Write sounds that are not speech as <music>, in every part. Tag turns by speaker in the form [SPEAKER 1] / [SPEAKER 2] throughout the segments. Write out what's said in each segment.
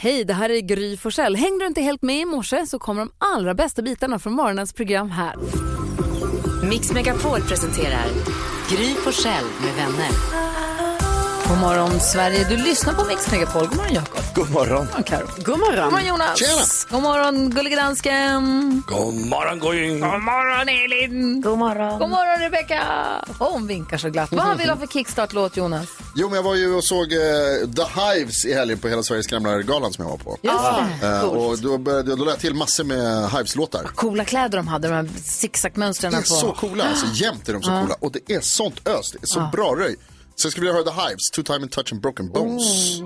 [SPEAKER 1] Hej, det här är Gry Forssell. Hängde du inte helt med i morse så kommer de allra bästa bitarna från morgonens program här.
[SPEAKER 2] Mix Megapol presenterar Gry Forssell med vänner.
[SPEAKER 1] God morgon Sverige, du lyssnar på Mix Megapol. God morgon Jakob.
[SPEAKER 3] God morgon.
[SPEAKER 1] God morgon Karo.
[SPEAKER 2] God morgon.
[SPEAKER 1] God morgon Jonas.
[SPEAKER 3] Tjena.
[SPEAKER 1] God morgon gullige dansken.
[SPEAKER 3] God morgon, Gojin.
[SPEAKER 1] God morgon Elin. God morgon. God morgon Rebecka. Hon vinkar så glatt. Mm. Vad vill du ha för kickstart-låt Jonas?
[SPEAKER 4] Jo, men jag var ju och såg eh, The Hives i helgen på Hela Sveriges Skramlar-galan som jag var på.
[SPEAKER 1] Just
[SPEAKER 4] Eh, och då, började, då lade jag till massor med Hives-låtar.
[SPEAKER 1] Coola kläder de hade, de här zigzag-mönstren
[SPEAKER 4] Det är
[SPEAKER 1] på.
[SPEAKER 4] så coola, alltså jämt är de så coola. Och det är sånt ös, det är så bra röj. Så jag skulle vilja höra The Hives, Two Time and Touch and Broken Bones.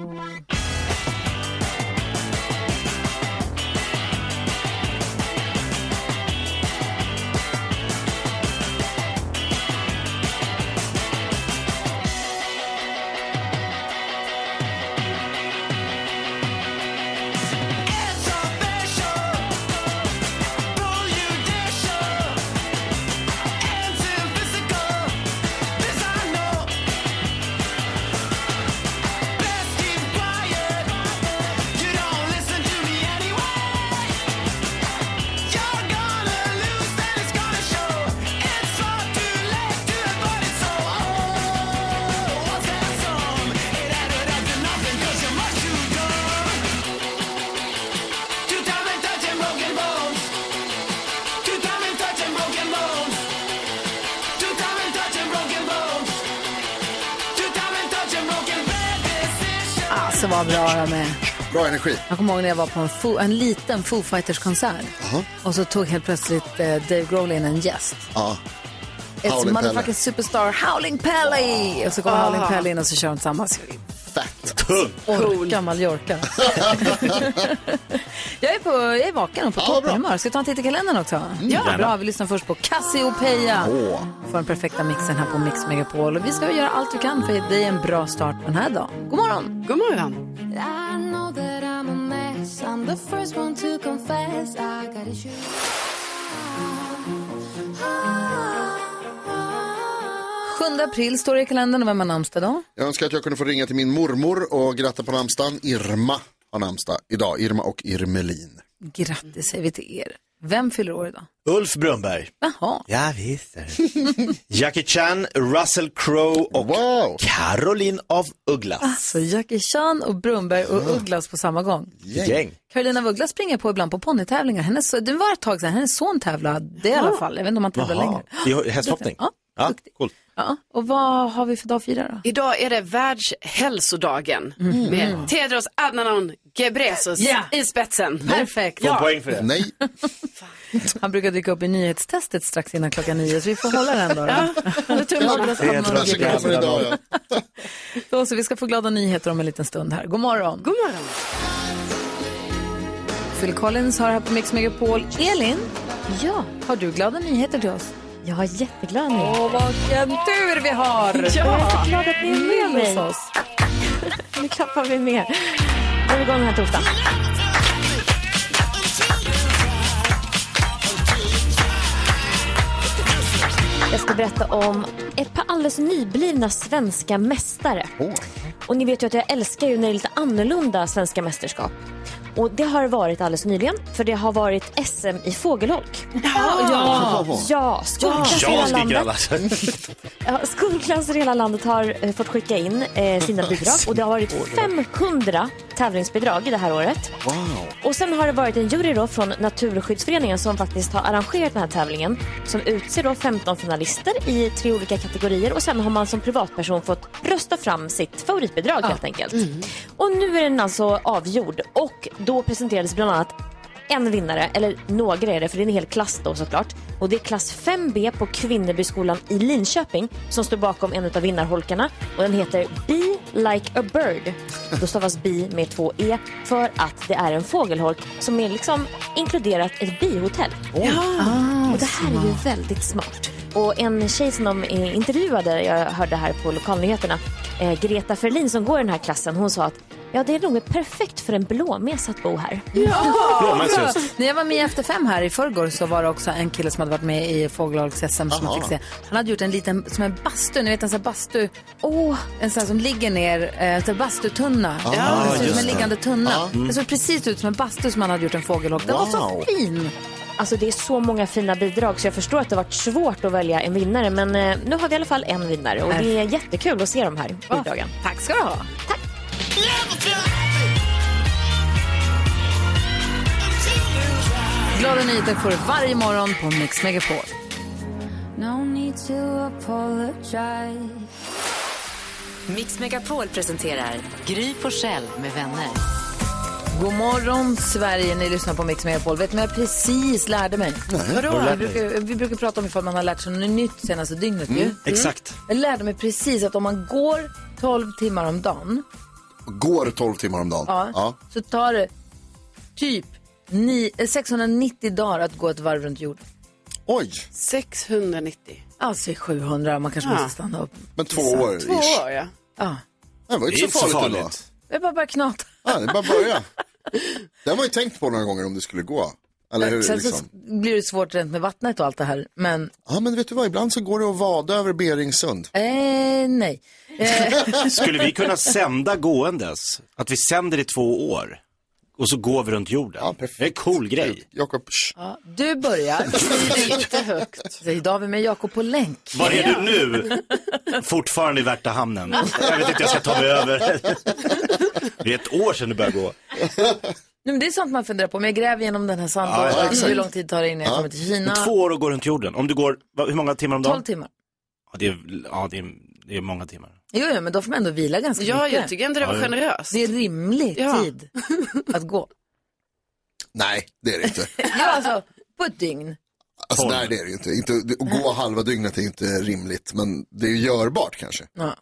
[SPEAKER 3] Oh,
[SPEAKER 1] Alltså vad bra de är.
[SPEAKER 4] Bra energi.
[SPEAKER 1] Jag kommer ihåg när jag var på en, fo- en liten Foo Fighters-konsert. Och så tog helt plötsligt eh, Dave Grohl in en gäst.
[SPEAKER 4] Ja.
[SPEAKER 1] It's
[SPEAKER 4] Howlin'
[SPEAKER 1] motherfucking
[SPEAKER 4] Pelle.
[SPEAKER 1] superstar Howling Pelle! Och så
[SPEAKER 2] Ah.
[SPEAKER 1] kommer Howling Pelle in och så kör de tillsammans.
[SPEAKER 4] Fett.
[SPEAKER 1] Orka Mallorca. <laughs> jag, är på, jag är vaken och på
[SPEAKER 4] Ja,
[SPEAKER 1] toppen
[SPEAKER 4] bra. Mm.
[SPEAKER 1] humör. Ska vi ta en titt i kalendern också? Ja, bra. Vi lyssnar först på Cassiopeia.
[SPEAKER 4] Åh.
[SPEAKER 1] Får den perfekta mixen här på Mix Megapol. Och vi ska göra allt vi kan för att det är en bra start på den här dagen. God morgon!
[SPEAKER 2] God morgon.
[SPEAKER 5] Hej
[SPEAKER 1] 7 april står det i kalendern. Och vem har namnsdag då?
[SPEAKER 4] Jag önskar att jag kunde få ringa till min mormor och gratta på namnsdagen. Irma har namnsdag idag, Irma och Irmelin.
[SPEAKER 1] Grattis säger vi till er. Vem fyller år idag?
[SPEAKER 3] Ulf Brunnberg.
[SPEAKER 1] Jaha.
[SPEAKER 3] Ja, visst. <laughs> Jackie Chan, Russell Crowe och
[SPEAKER 4] Wow.
[SPEAKER 3] Caroline av
[SPEAKER 6] Ah.
[SPEAKER 3] Ugglas.
[SPEAKER 1] Så Jackie Chan och Brunberg och Ugglas på samma gång.
[SPEAKER 3] Gäng. Gäng.
[SPEAKER 1] Carolina av Ugglas springer på ibland på ponnytävlingar. Hennes, det var ett tag sedan, hennes son tävlade det i
[SPEAKER 6] Ah.
[SPEAKER 1] alla fall. Jag vet inte om han tävlar längre.
[SPEAKER 3] I hö- hästhoppning?
[SPEAKER 1] Ja, duktig.
[SPEAKER 3] coolt.
[SPEAKER 1] Ja, och vad har vi för dag att fira då?
[SPEAKER 6] Idag är det världshälsodagen med Tedros Adhanom Ghebreyesus
[SPEAKER 1] Mm. Ja.
[SPEAKER 6] i spetsen.
[SPEAKER 1] Perfekt.
[SPEAKER 3] Få en poäng för det.
[SPEAKER 4] Nej,
[SPEAKER 1] Han brukar dyka upp i nyhetstestet strax innan klockan nio, så vi får hålla den då. då. Eller tummen på Ugglas
[SPEAKER 3] Det är
[SPEAKER 1] hamnar
[SPEAKER 4] kanske
[SPEAKER 1] och
[SPEAKER 3] tråkigt.
[SPEAKER 1] Ugglas.
[SPEAKER 4] kommer idag. Ja.
[SPEAKER 1] <laughs> Då så, vi ska få glada nyheter om en liten stund här. God morgon.
[SPEAKER 6] God morgon.
[SPEAKER 1] Phil Collins har här på Mix Megapol. Elin, ja. har du glada nyheter till oss?
[SPEAKER 5] Jag har jätteglad nu.
[SPEAKER 1] Åh, vilken tur vi
[SPEAKER 5] <laughs>
[SPEAKER 1] har!
[SPEAKER 6] Ja.
[SPEAKER 5] Glad att ni är med mig.
[SPEAKER 1] hos oss.
[SPEAKER 5] <laughs> Nu klappar vi med. Nu är vi igång den här torsdagen. Jag ska berätta om ett par alldeles nyblivna svenska mästare.
[SPEAKER 4] Åh.
[SPEAKER 5] Och ni vet ju att jag älskar ju när det är lite annorlunda svenska mästerskap. Och det har varit alldeles nyligen, för det har varit SM i fågelholk. Ja, skolklass i hela
[SPEAKER 3] Jag
[SPEAKER 5] landet. Mm.
[SPEAKER 3] skriker
[SPEAKER 5] <laughs>
[SPEAKER 3] alla.
[SPEAKER 5] Ja, skolklasser i hela landet har eh, fått skicka in eh, sina bidrag och det har varit 500 tävlingsbidrag det här året.
[SPEAKER 4] Wow.
[SPEAKER 5] Och sen har det varit en jury då från Naturskyddsföreningen som faktiskt har arrangerat den här tävlingen som utser då 15 finalister i tre olika kategorier och sen har man som privatperson fått rösta fram sitt favoritbidrag helt enkelt. Och nu är den alltså avgjord och då presenterades bland annat en vinnare, eller några är det för det är en hel klass då såklart. Och det är klass 5B på Kvinnebyskolan i Linköping som står bakom en av vinnarholkarna och den heter Be Like a Bird. Då stavas bi med två e för att det är en fågelholk som är liksom inkluderat ett bihotell. Och det här är ju väldigt smart. Och en tjej som de eh, intervjuade, jag hörde här på lokalnyheterna, eh, Greta Ferlin som går i den här klassen, hon sa att Ja, det är nog perfekt för en blåmes att bo här.
[SPEAKER 3] Blåmes
[SPEAKER 1] Bra.
[SPEAKER 3] just.
[SPEAKER 1] När jag var med i Efter fem här i förrgår så var det också en kille som hade varit med i fågelholks-SM som man
[SPEAKER 4] Aha.
[SPEAKER 1] fick se. Han hade gjort en liten, som en bastu, ni vet en sån här bastu, oh, en sån här som ligger ner, eh, en sån här bastutunna.
[SPEAKER 4] Ah,
[SPEAKER 1] det ser ut som
[SPEAKER 4] just
[SPEAKER 1] en
[SPEAKER 4] det.
[SPEAKER 1] liggande tunna.
[SPEAKER 4] Ja.
[SPEAKER 1] Det såg precis ut som en bastu som han hade gjort en fågelholk. Den var så
[SPEAKER 4] Wow.
[SPEAKER 1] fin!
[SPEAKER 5] Alltså det är så många fina bidrag så jag förstår att det har varit svårt att välja en vinnare men eh, nu har vi i alla fall en vinnare och det är jättekul att se de här bidragen.
[SPEAKER 1] Tack ska du ha. Tack. Glada nyheter får du varje morgon på Mix Megapol.
[SPEAKER 2] Mix Megapol presenterar Gry Forssell med vänner.
[SPEAKER 1] God morgon Sverige, ni lyssnar på Mix Megapol. Vet ni vad jag precis lärde mig? Vadå? Vi brukar, vi brukar prata om ifall man har lärt sig något nytt senaste dygnet
[SPEAKER 4] Mm,
[SPEAKER 1] ju. Mm.
[SPEAKER 3] Exakt.
[SPEAKER 1] Jag lärde mig precis att om man går 12 timmar om dagen
[SPEAKER 4] Går 12 timmar om dagen.
[SPEAKER 1] ja, så tar det typ ni, eh, 690 dagar att gå ett varv runt jorden.
[SPEAKER 4] Oj,
[SPEAKER 6] 690.
[SPEAKER 1] Alltså 700, man kanske
[SPEAKER 6] Ja.
[SPEAKER 1] måste stanna upp.
[SPEAKER 4] men två år
[SPEAKER 6] Två
[SPEAKER 4] ish.
[SPEAKER 6] år, ja.
[SPEAKER 1] Ja.
[SPEAKER 4] Det var
[SPEAKER 3] Det
[SPEAKER 4] ju
[SPEAKER 3] är
[SPEAKER 4] inte så farligt ändå.
[SPEAKER 1] Jag bara börjar knata.
[SPEAKER 4] Ja, det är bara att börja. Den var ju tänkt på några gånger om det skulle gå. Eller hur,
[SPEAKER 1] Sen så
[SPEAKER 4] liksom.
[SPEAKER 1] blir det svårt rent med vattnet och allt det här. Men
[SPEAKER 4] Ja, men vet du vad, ibland så går det att vada över Beringsund.
[SPEAKER 1] eh, nej. Eh.
[SPEAKER 3] <laughs> Skulle vi kunna sända gåendes? Att vi sänder i två år och så går vi runt jorden.
[SPEAKER 4] Ja, perfekt.
[SPEAKER 3] Det är en cool grej.
[SPEAKER 4] Jakob, shh.
[SPEAKER 1] Ja, du
[SPEAKER 3] <laughs>
[SPEAKER 1] börjar. Inte högt. Idag har vi med Jakob på länk.
[SPEAKER 3] Var är du nu? Fortfarande i Värtahamnen. Jag vet inte, jag ska ta mig över. Det är ett år sedan du började gå.
[SPEAKER 1] Nej, men det är sånt man funderar på. Men jag gräver genom den här
[SPEAKER 3] Ja,
[SPEAKER 1] sandlådan.
[SPEAKER 3] ja,
[SPEAKER 1] Undrar hur lång tid tar det innan jag kommer till Kina?
[SPEAKER 3] Två år och gå runt jorden. Om du går, va- hur många timmar om
[SPEAKER 1] Tolv
[SPEAKER 3] dagen?
[SPEAKER 1] timmar.
[SPEAKER 3] Ja, det, är, ja, det, är, det är många timmar.
[SPEAKER 1] Jo, jo, men då får man ändå vila ganska
[SPEAKER 6] Ja, jag
[SPEAKER 1] mycket.
[SPEAKER 6] tycker ändå det var generöst.
[SPEAKER 1] Det är rimlig
[SPEAKER 6] Ja. <laughs>
[SPEAKER 1] tid att gå.
[SPEAKER 4] Nej, det är det inte.
[SPEAKER 1] Ja, alltså på ett dygn.
[SPEAKER 4] Alltså,
[SPEAKER 3] Tolv.
[SPEAKER 4] nej, det är det ju inte. inte. Att gå halva dygnet är inte rimligt, men det är ju görbart kanske.
[SPEAKER 1] Ja.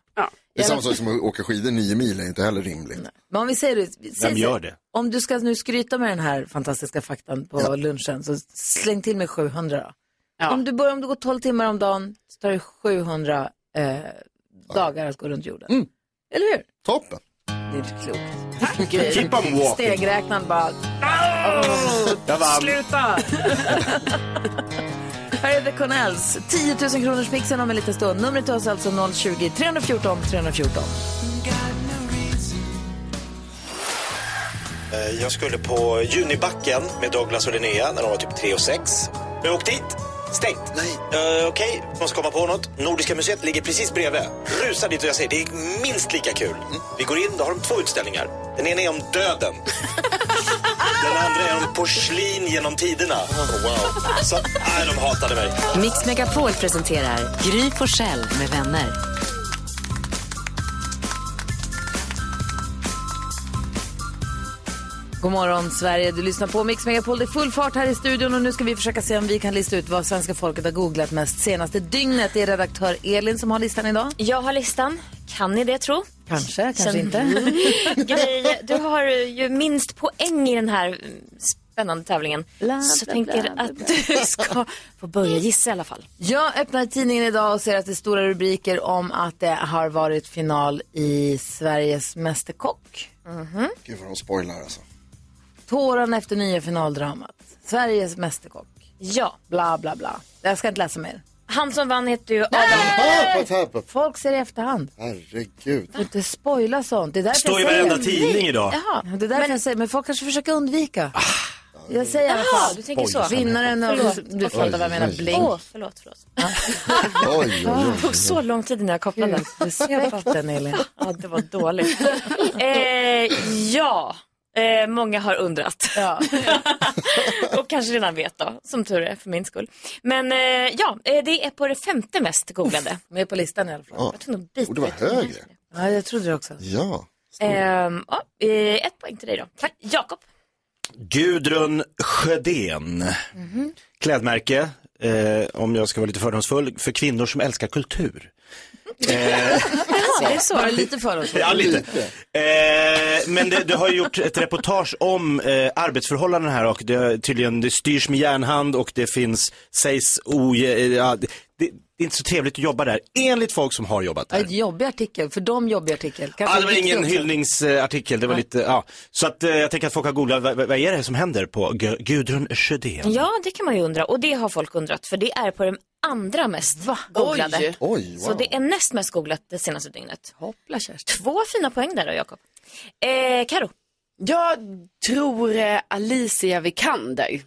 [SPEAKER 4] Det är samma sak som att åka skidor nio mil är inte heller rimligt.
[SPEAKER 1] Men om vi säger det. Säg,
[SPEAKER 3] Vem gör
[SPEAKER 1] säg-
[SPEAKER 3] det?
[SPEAKER 1] Om du ska nu skryta med den här fantastiska faktan på lunchen så släng till med 700 då.
[SPEAKER 6] Ja.
[SPEAKER 1] Om, du börjar, om du går 12 timmar om dagen så tar det 700 eh, dagar att gå runt jorden.
[SPEAKER 3] Mm.
[SPEAKER 1] Eller hur?
[SPEAKER 4] Toppen.
[SPEAKER 1] Det är inte klokt.
[SPEAKER 3] Keep on walking.
[SPEAKER 1] Stegräknaren bara...
[SPEAKER 3] Jag vann.
[SPEAKER 1] Sluta! Här är The Connells. 10 000 kronors mixen om en liten stund. Numret till oss är alltså 020 314 314.
[SPEAKER 7] Eh, Jag skulle på Junibacken med Douglas och Linnea när de var typ 3 och 6. Jag åkte dit. Stängt. Nej. Okej, måste komma på något. Nordiska museet ligger precis bredvid. Rusa dit och jag säger det är minst lika kul. Vi går in, då har de två utställningar. Den ena är om döden. Den andra är om porslin genom tiderna. wow. Så, nej, de hatade mig.
[SPEAKER 2] Mix Megapol presenterar Gry Forssell med vänner.
[SPEAKER 1] God morgon Sverige, du lyssnar på Mix Megapol. Det är full fart här i studion och nu ska vi försöka se om vi kan lista ut vad svenska folket har googlat mest senaste dygnet. Det är redaktör Elin som har listan idag.
[SPEAKER 5] Jag har listan. Kan ni det tro?
[SPEAKER 1] Kanske, kanske <laughs>
[SPEAKER 5] Sen-
[SPEAKER 1] inte.
[SPEAKER 5] <laughs> Gry, du har ju minst poäng i den här mm, spännande tävlingen.
[SPEAKER 1] Bla,
[SPEAKER 5] så
[SPEAKER 1] bla,
[SPEAKER 5] tänker
[SPEAKER 1] bla, bla,
[SPEAKER 5] att du ska få börja gissa i alla fall.
[SPEAKER 1] Jag öppnar tidningen idag och ser att det är stora rubriker om att det har varit final i Sveriges Mästerkock.
[SPEAKER 5] Mhm.
[SPEAKER 4] Gud vad de spoilar alltså.
[SPEAKER 1] Tårarna efter nya finaldramat. Sveriges Mästerkock.
[SPEAKER 5] Ja,
[SPEAKER 1] Bla, bla, bla. Jag ska inte läsa mer.
[SPEAKER 5] han som vann heter ju Adam.
[SPEAKER 4] Tappat, tappat.
[SPEAKER 1] Folk ser i efterhand.
[SPEAKER 4] Herregud.
[SPEAKER 1] Du får inte spoila sånt. Det är därför
[SPEAKER 3] Står i
[SPEAKER 1] jag säger-
[SPEAKER 3] varenda tidning idag. Ah.
[SPEAKER 1] Ja, det är därför jag säger, men folk kanske försöker undvika. Jag säger i alla
[SPEAKER 5] Ja,
[SPEAKER 1] fall.
[SPEAKER 5] du tänker så.
[SPEAKER 1] Vinnaren av...
[SPEAKER 5] Förlåt.
[SPEAKER 1] Du fattar vad jag menar,
[SPEAKER 5] Åh,
[SPEAKER 1] blink.
[SPEAKER 5] förlåt, förlåt.
[SPEAKER 4] Oj, oj, oj.
[SPEAKER 5] Det tog så lång tid innan jag kopplade. den.
[SPEAKER 1] Respekten, Elin.
[SPEAKER 5] Ja, det var dåligt. <laughs> eh, ja, eh, många har undrat.
[SPEAKER 1] Ja.
[SPEAKER 5] <laughs> Och kanske redan vet då, som tur är för min skull. Men eh, ja, eh, det är på det femte mest googlade.
[SPEAKER 1] Med på listan i alla fall.
[SPEAKER 4] Ja.
[SPEAKER 5] Jag tror nog bit-
[SPEAKER 4] Och det var högre.
[SPEAKER 1] Ja, jag trodde det också.
[SPEAKER 4] Ja.
[SPEAKER 5] Ehm, ja, eh, ett poäng till dig då. Tack. Jakob.
[SPEAKER 3] Gudrun Sjödén. Klädmärke, eh, om jag ska vara lite fördomsfull, för kvinnor som älskar kultur. Eh,
[SPEAKER 5] Ja, det är så.
[SPEAKER 1] Bara lite för oss.
[SPEAKER 3] Ja, lite. Eh, men det, det har ju gjort ett reportage om eh, arbetsförhållanden här och det, har tydligen, det styrs med järnhand och det finns, sägs oje, eh, ja, det- det, det är inte så trevligt att jobba där, enligt folk som har jobbat där.
[SPEAKER 1] En jobbig artikel, för dem jobbig artikel. Kanske
[SPEAKER 3] Ja, det var
[SPEAKER 1] viktig
[SPEAKER 3] ingen
[SPEAKER 1] också.
[SPEAKER 3] hyllningsartikel, det var lite, ja. Så att eh, jag tänker att folk har googlat, vad, vad vad är det som händer på Gu- Gudrun Sjödén?
[SPEAKER 5] Ja, det kan man ju undra. Och det har folk undrat, för det är på den andra mest googlade.
[SPEAKER 6] Oj.
[SPEAKER 4] Oj, wow.
[SPEAKER 5] Så det är näst mest googlat det senaste dygnet.
[SPEAKER 1] Hoppla Kerstin.
[SPEAKER 5] Två fina poäng där då, Jakob. Eh, Karo.
[SPEAKER 6] Jag tror eh, Alicia Vikander.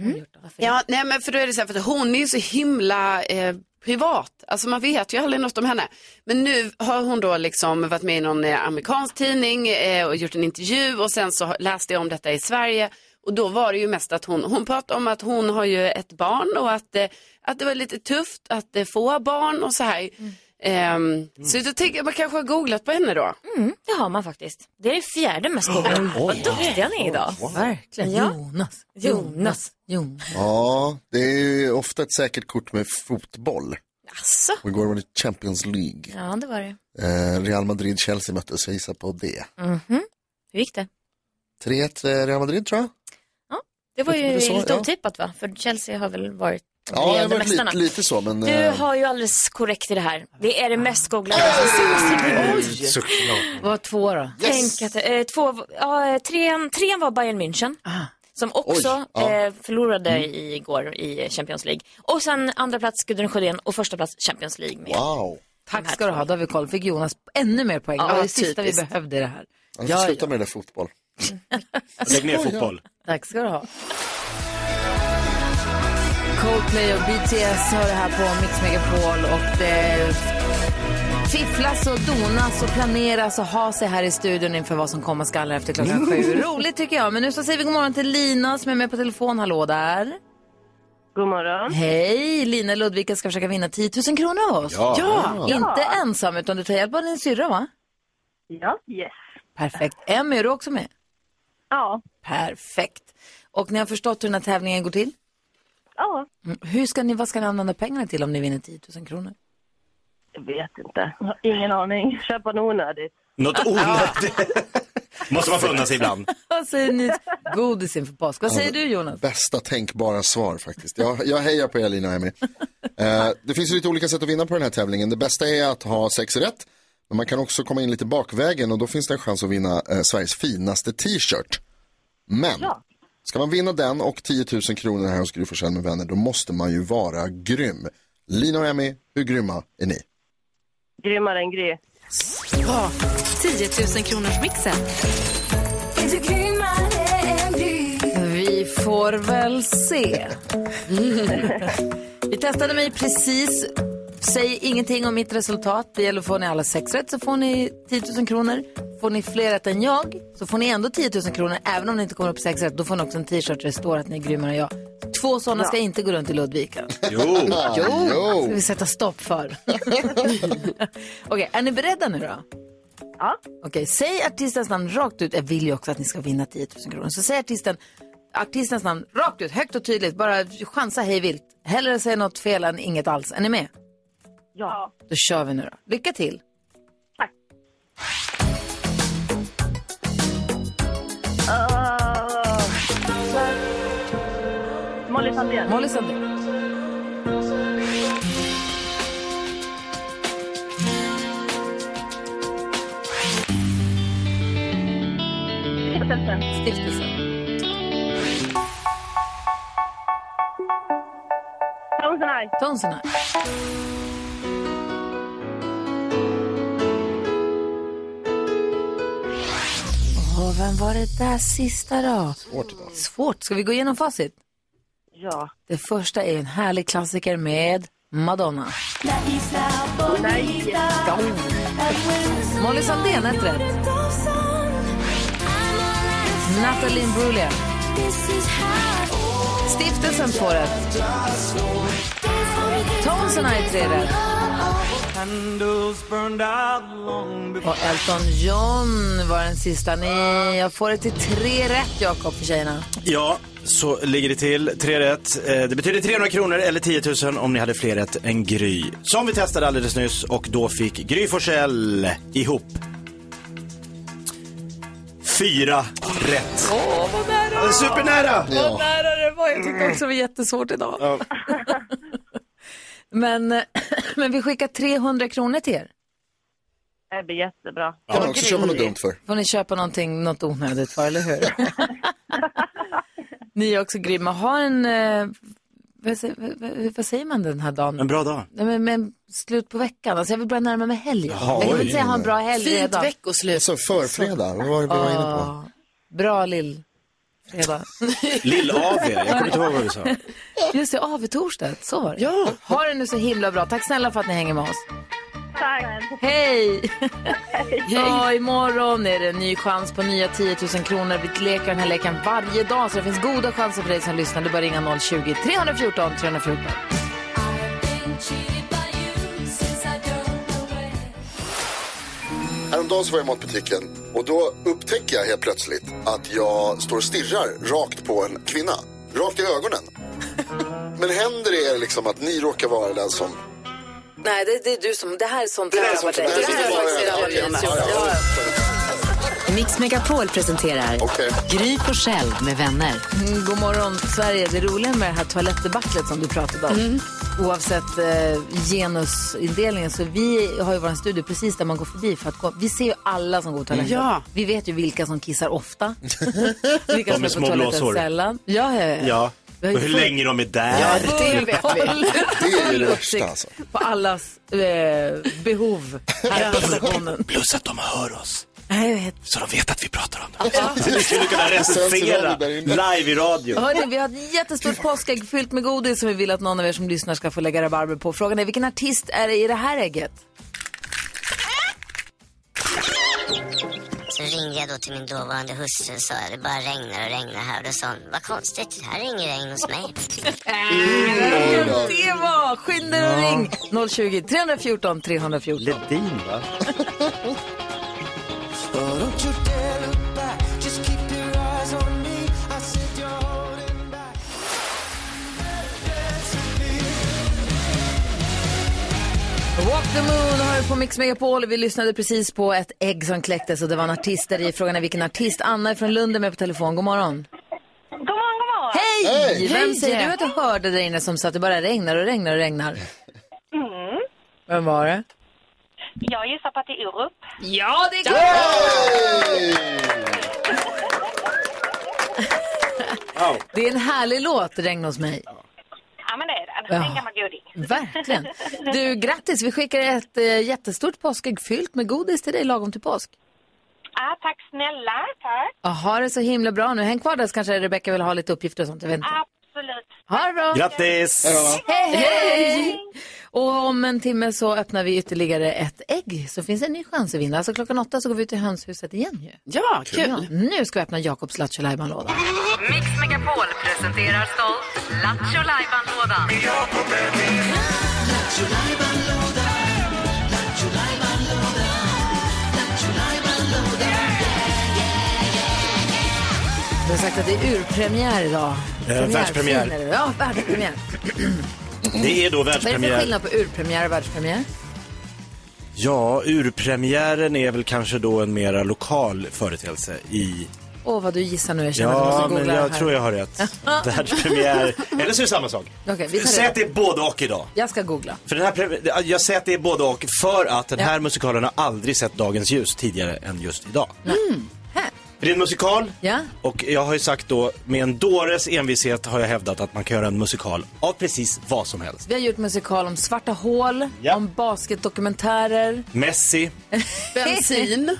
[SPEAKER 5] Mm.
[SPEAKER 6] Ja, nej men för då är det så här, för att hon är ju så himla eh, privat. Alltså man vet ju aldrig något om henne. Men nu har hon då liksom varit med i någon eh, amerikansk tidning eh, och gjort en intervju och sen så har- läste jag om detta i Sverige. Och då var det ju mest att hon, hon pratade om att hon har ju ett barn och att, eh, att det var lite tufft att eh, få barn och så här. Ehm, Så då tänker jag, man kanske har googlat på henne då.
[SPEAKER 5] Mm, det har man faktiskt. Det är det fjärde mest googlade. Vad duktiga ni är idag.
[SPEAKER 1] Verkligen.
[SPEAKER 5] Ja.
[SPEAKER 1] Jonas.
[SPEAKER 5] Jonas.
[SPEAKER 1] Jonas. Jonas.
[SPEAKER 4] Ja, det är ju ofta ett säkert kort med fotboll.
[SPEAKER 5] Alltså.
[SPEAKER 4] Och igår var det Champions League.
[SPEAKER 5] Ja, det var det.
[SPEAKER 4] Eh, Real Madrid-Chelsea möttes, jag gissar på det.
[SPEAKER 5] Mhm. Hur gick det?
[SPEAKER 4] 3-1 Real Madrid tror jag.
[SPEAKER 5] Det var ju
[SPEAKER 4] Det sa-
[SPEAKER 5] lite
[SPEAKER 4] ja.
[SPEAKER 5] otippat va? För Chelsea har väl varit
[SPEAKER 4] Ja, det
[SPEAKER 5] regerande
[SPEAKER 4] var lite, lite så, men...
[SPEAKER 5] Du
[SPEAKER 4] eh,
[SPEAKER 5] har ju alldeles korrekt i det här. Det är det mest googlade. Oj!
[SPEAKER 4] såklart.
[SPEAKER 1] Vad var två då?
[SPEAKER 5] Tänk att eh, två, ja, trean, trean var Bayern München.
[SPEAKER 1] Ah.
[SPEAKER 5] Som också
[SPEAKER 4] Oj, ja. Mm.
[SPEAKER 5] eh, förlorade igår i Champions League. Och sen andra plats Gudrun Sjödén och första plats Champions League. Med.
[SPEAKER 4] Wow.
[SPEAKER 1] Tack ska du ha, då har vi koll. Fick Jonas ännu mer poäng. det var det sista vi
[SPEAKER 6] typiskt.
[SPEAKER 1] behövde i det här.
[SPEAKER 4] Jag får sluta med det där fotboll.
[SPEAKER 3] Lägg ner fotboll.
[SPEAKER 1] Tack ska du ha. Coldplay och BTS har det här på Mix Megapol och det fifflas och donas och planeras och ha sig här i studion inför vad som komma skall efter klockan sju. Roligt tycker jag. Men nu så säger vi god morgon till Lina som är med på telefon. Hallå där.
[SPEAKER 8] God morgon.
[SPEAKER 1] Hej! Lina Ludvika ska försöka vinna 10 000 kronor av oss.
[SPEAKER 3] Ja.
[SPEAKER 1] Inte ensam utan du tar hjälp av din syrra va?
[SPEAKER 8] Ja. Yes.
[SPEAKER 1] Perfekt. Emmy är du också med?
[SPEAKER 8] Ja.
[SPEAKER 1] Perfekt. Och ni har förstått hur den här tävlingen går till?
[SPEAKER 8] Ja.
[SPEAKER 1] Mm. Hur ska ni, vad ska ni använda pengarna till om ni vinner 10 000 kronor?
[SPEAKER 8] Jag vet inte. Jag har ingen aning. Köpa något onödigt.
[SPEAKER 3] Något onödigt. Måste man få unna sig ibland.
[SPEAKER 1] <laughs> Vad säger ni? Godis inför påsk. Vad säger du Jonas?
[SPEAKER 4] Bästa tänkbara svar faktiskt. Jag, jag hejar på er Lina och Emmy. Eh, det finns ju lite olika sätt att vinna på den här tävlingen. Det bästa är att ha sex rätt. Men man kan också komma in lite bakvägen och då finns det en chans att vinna eh, Sveriges finaste t-shirt. Men ska man vinna den och 10 000 kronor här hos Gry Forssell med vänner då måste man ju vara grym. Lina och Emmy, hur grymma är ni?
[SPEAKER 8] Grymmare än Gry.
[SPEAKER 2] 10 000 kronors mixen.
[SPEAKER 1] Vi får väl se. Vi testade mig precis. Säg ingenting om mitt resultat. Det gäller får ni alla sex rätt så får ni 10 000 kronor. Får ni fler rätt än jag så får ni ändå 10 000 kronor. Även om ni inte kommer upp sex rätt då får ni också en t-shirt där det står att ni är grymmare än jag. Två sådana ska inte gå runt i Ludvika.
[SPEAKER 3] Jo.
[SPEAKER 4] Jo!
[SPEAKER 1] ska vi sätta stopp för. Okej, är ni beredda nu då?
[SPEAKER 8] Ja.
[SPEAKER 1] Okej, säg artistens namn rakt ut. Jag vill ju också att ni ska vinna 10 000 kronor. Så säg artisten, artistens namn rakt ut, högt och tydligt. Bara chansa hej vilt. Hellre säga något fel än inget alls. Är ni med?
[SPEAKER 8] Ja.
[SPEAKER 1] Då kör vi nu då. Lycka till.
[SPEAKER 8] Molly Sandén.
[SPEAKER 1] Molly Sandén.
[SPEAKER 8] Stiftelsen.
[SPEAKER 1] Stiftelsen.
[SPEAKER 8] Tones and I.
[SPEAKER 1] Tones and I. Åh, vem var det där sista då? Svårt idag. Svårt. Ska vi gå igenom facit?
[SPEAKER 8] Ja.
[SPEAKER 1] Det första är en härlig klassiker med Madonna. Molly Sandén, ett rätt. Nathalie Brulia. Stiftelsen får rätt. Tones and I, tre rätt. Och Elton John var den sista. Ni, jag får det till tre rätt, Jakob, för tjejerna.
[SPEAKER 3] Ja, så ligger det till. Tre rätt. Eh, Det betyder 300 kronor eller 10 000 om ni hade fler rätt än Gry. Som vi testade alldeles nyss och då fick Gry Forssell ihop fyra rätt. Åh, vad nära! Supernära!
[SPEAKER 1] Vad nära det var. Jag tyckte också det var jättesvårt idag. Men, <clears throat> men vi skickar 300 kronor till er.
[SPEAKER 3] Det blir jättebra.
[SPEAKER 4] Kan man också köpa något dumt för.
[SPEAKER 1] får ni köpa någonting, något onödigt för,
[SPEAKER 4] <laughs>
[SPEAKER 1] eller hur? ni är också grymma. Ha en, eh, vad, sä- vad- vad, vad säger man den här dagen?
[SPEAKER 9] En bra dag.
[SPEAKER 1] Nej, men, men slut på veckan, alltså jag vill börja närma mig helgen.
[SPEAKER 4] Jaha,
[SPEAKER 1] jag vill
[SPEAKER 4] oj.
[SPEAKER 1] inte säga ha en bra helg
[SPEAKER 6] Fint
[SPEAKER 1] redan.
[SPEAKER 6] veckoslut.
[SPEAKER 4] Så Alltså, förfredag, vad var det vi var inne på?
[SPEAKER 1] Bra lill fredag.
[SPEAKER 9] Lill-AW, jag kommer inte ihåg vad du sa.
[SPEAKER 1] <laughs> Just det, AW-torsdag, så var det. Ja. Ha det nu så himla bra. Tack snälla för att ni hänger med oss.
[SPEAKER 3] Tack.
[SPEAKER 1] <laughs> Hej! Ja, imorgon är det en ny chans på nya 10 000 kronor. Vi leker den här leken varje dag så det finns goda chanser för dig som lyssnar. Du bara ringa 020-314 314.
[SPEAKER 4] Häromdagen så var jag i matbutiken och då upptäcker jag helt plötsligt att jag står och stirrar rakt på en kvinna. Rakt i ögonen. Men händer det liksom att ni råkar vara den som...
[SPEAKER 1] Nej, det, det är du som... Det här är sånt
[SPEAKER 4] den som-
[SPEAKER 6] det här
[SPEAKER 4] den som-
[SPEAKER 6] har faktiskt aldrig
[SPEAKER 4] Okej,
[SPEAKER 6] hänt.
[SPEAKER 4] ja, ja.
[SPEAKER 2] Mix Megapol presenterar
[SPEAKER 4] Okej.
[SPEAKER 2] Gry på Själ med vänner.
[SPEAKER 1] Mm, God morgon, Sverige. Det roliga med det här toalettdebaclet som du pratade om,
[SPEAKER 9] Mm.
[SPEAKER 1] oavsett eh, genusindelningen, så vi har ju vår studio precis där man går förbi för att gå. Vi ser ju alla som går på toaletten.
[SPEAKER 6] Ja.
[SPEAKER 1] Vi vet ju vilka som
[SPEAKER 9] <laughs>
[SPEAKER 1] kissar ofta, vilka som
[SPEAKER 9] med
[SPEAKER 1] är på
[SPEAKER 9] små
[SPEAKER 1] toaletten
[SPEAKER 9] blåsor.
[SPEAKER 1] sällan. Ja, ja, ja.
[SPEAKER 9] Ja,
[SPEAKER 1] Eh, Vi har
[SPEAKER 9] och
[SPEAKER 1] ju
[SPEAKER 9] hur
[SPEAKER 1] full-
[SPEAKER 9] länge de är där.
[SPEAKER 6] Ja, det vet vi.
[SPEAKER 4] Det är ju det värsta alltså.
[SPEAKER 1] på allas eh, behov här
[SPEAKER 9] <laughs>
[SPEAKER 1] på stationen.
[SPEAKER 9] Plus att de hör oss,
[SPEAKER 1] Nej, jag vet.
[SPEAKER 9] så de vet att vi pratar om dem. Så vi skulle kunna recensera
[SPEAKER 4] radio där inne.
[SPEAKER 9] live i radio.
[SPEAKER 1] Hörni, vi har ett jättestort påskägg fyllt med godis som vi vill att någon av er som lyssnar ska få lägga rabarber på. Frågan är vilken artist är det i det här ägget?
[SPEAKER 10] Så ringde jag då till min dåvarande hustru och sa det bara regnar och regnar här. Och då sa hon, vad konstigt, här är inget regn hos mig.
[SPEAKER 1] Det var Skynda dig och ring! 020 314 314.
[SPEAKER 9] Ledin, va?
[SPEAKER 1] Walk the Moon har du på Mix Megapol. Vi lyssnade precis på ett ägg som kläcktes och det var en artist där i. Frågan är vilken artist. Anna är från Lund är med på telefon. God morgon.
[SPEAKER 3] God morgon, god morgon.
[SPEAKER 1] Hej!
[SPEAKER 4] Hej!
[SPEAKER 1] Vem säger du att du hörde där inne som sa att det bara regnar och regnar och regnar?
[SPEAKER 8] Mm.
[SPEAKER 1] Vem var det?
[SPEAKER 3] Jag gissar på att det är Urup.
[SPEAKER 1] Ja, det är klart! Det är en härlig låt, Regn hos mig.
[SPEAKER 3] Ja, men det är det. Det
[SPEAKER 1] Ja.
[SPEAKER 3] är en gammal goding. <laughs>
[SPEAKER 1] Verkligen. Du, grattis. Vi skickar ett eh, jättestort påskägg fyllt med godis till dig lagom till påsk.
[SPEAKER 3] Ja, tack snälla. Tack.
[SPEAKER 1] Ja, ha det så himla bra nu. Häng kvar där så kanske Rebecka vill ha lite uppgifter och sånt. Jag vet inte.
[SPEAKER 3] Absolut.
[SPEAKER 1] Ha det bra.
[SPEAKER 9] Grattis!
[SPEAKER 1] Hej, hej! Och om en timme så öppnar vi ytterligare ett ägg. Så finns det en ny chans att vinna. Alltså klockan åtta så går vi ut i hönshuset igen ju.
[SPEAKER 6] Ja, kul.
[SPEAKER 1] Nu ska vi öppna Jakobs Lattjo Lajban-låda.
[SPEAKER 2] Mix Megapol presenterar stolt Lattjo Lajban-lådan.
[SPEAKER 1] Du har sagt att det är urpremiär idag. Premiär,
[SPEAKER 9] Eh, världspremiär.
[SPEAKER 1] fin är det. Ja,
[SPEAKER 9] <laughs>
[SPEAKER 1] världspremiär.
[SPEAKER 9] Det är då
[SPEAKER 1] Vad är det för
[SPEAKER 9] världspremiär.
[SPEAKER 1] skillnad på urpremiär och världspremiär?
[SPEAKER 9] Ja, urpremiären är väl kanske då en mera lokal företeelse i...
[SPEAKER 1] Åh, vad du gissar nu. Jag känner att jag
[SPEAKER 9] Ja,
[SPEAKER 1] måste
[SPEAKER 9] men
[SPEAKER 1] googla det
[SPEAKER 9] jag
[SPEAKER 1] här.
[SPEAKER 9] tror
[SPEAKER 1] <laughs>
[SPEAKER 9] jag har rätt. Världspremiär. Eller så är det samma sak.
[SPEAKER 1] Okej, vi tar
[SPEAKER 9] Säg
[SPEAKER 1] reda
[SPEAKER 9] att det är både och idag.
[SPEAKER 1] Jag ska googla.
[SPEAKER 9] För den här, pre- jag säger att det är både och för att den här musikalen har aldrig sett dagens ljus tidigare än just idag.
[SPEAKER 1] Här.
[SPEAKER 9] Det är en musikal
[SPEAKER 1] Ja.
[SPEAKER 9] och jag har ju sagt då med en dåres envishet har jag hävdat att man kan göra en musikal av precis vad som helst.
[SPEAKER 1] Vi har gjort musikal om svarta hål,
[SPEAKER 9] Ja.
[SPEAKER 1] om basketdokumentärer.
[SPEAKER 9] Messi,
[SPEAKER 6] Bensin.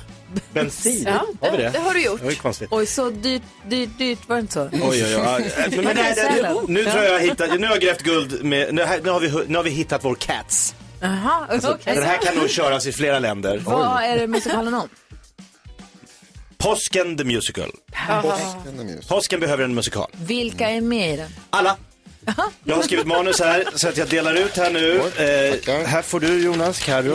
[SPEAKER 9] bensin,
[SPEAKER 6] Ja,
[SPEAKER 9] har vi det?
[SPEAKER 6] det har du gjort.
[SPEAKER 9] Det var ju konstigt.
[SPEAKER 1] Oj, så dyrt, dyrt, dyrt. Var det inte så?
[SPEAKER 9] <laughs> Oj, oj, oj. Men, men, nej, nej, nej. nu tror jag jag hittat, nu har jag grävt guld med, nu, här, nu, har vi, hu- nu har vi hittat vår Cats.
[SPEAKER 1] Jaha, okej.
[SPEAKER 9] Den Alltså, här kan nog köras i flera länder.
[SPEAKER 1] Vad är det musikalen om?
[SPEAKER 9] Påsken the musical.
[SPEAKER 4] Påsken är mjus.
[SPEAKER 9] Påsken behöver en musikal.
[SPEAKER 1] Vilka är med i den?
[SPEAKER 9] Alla. Jag har skrivit manus här så att jag delar ut här nu.
[SPEAKER 4] tackar.
[SPEAKER 9] Eh, här får du Jonas, Carro,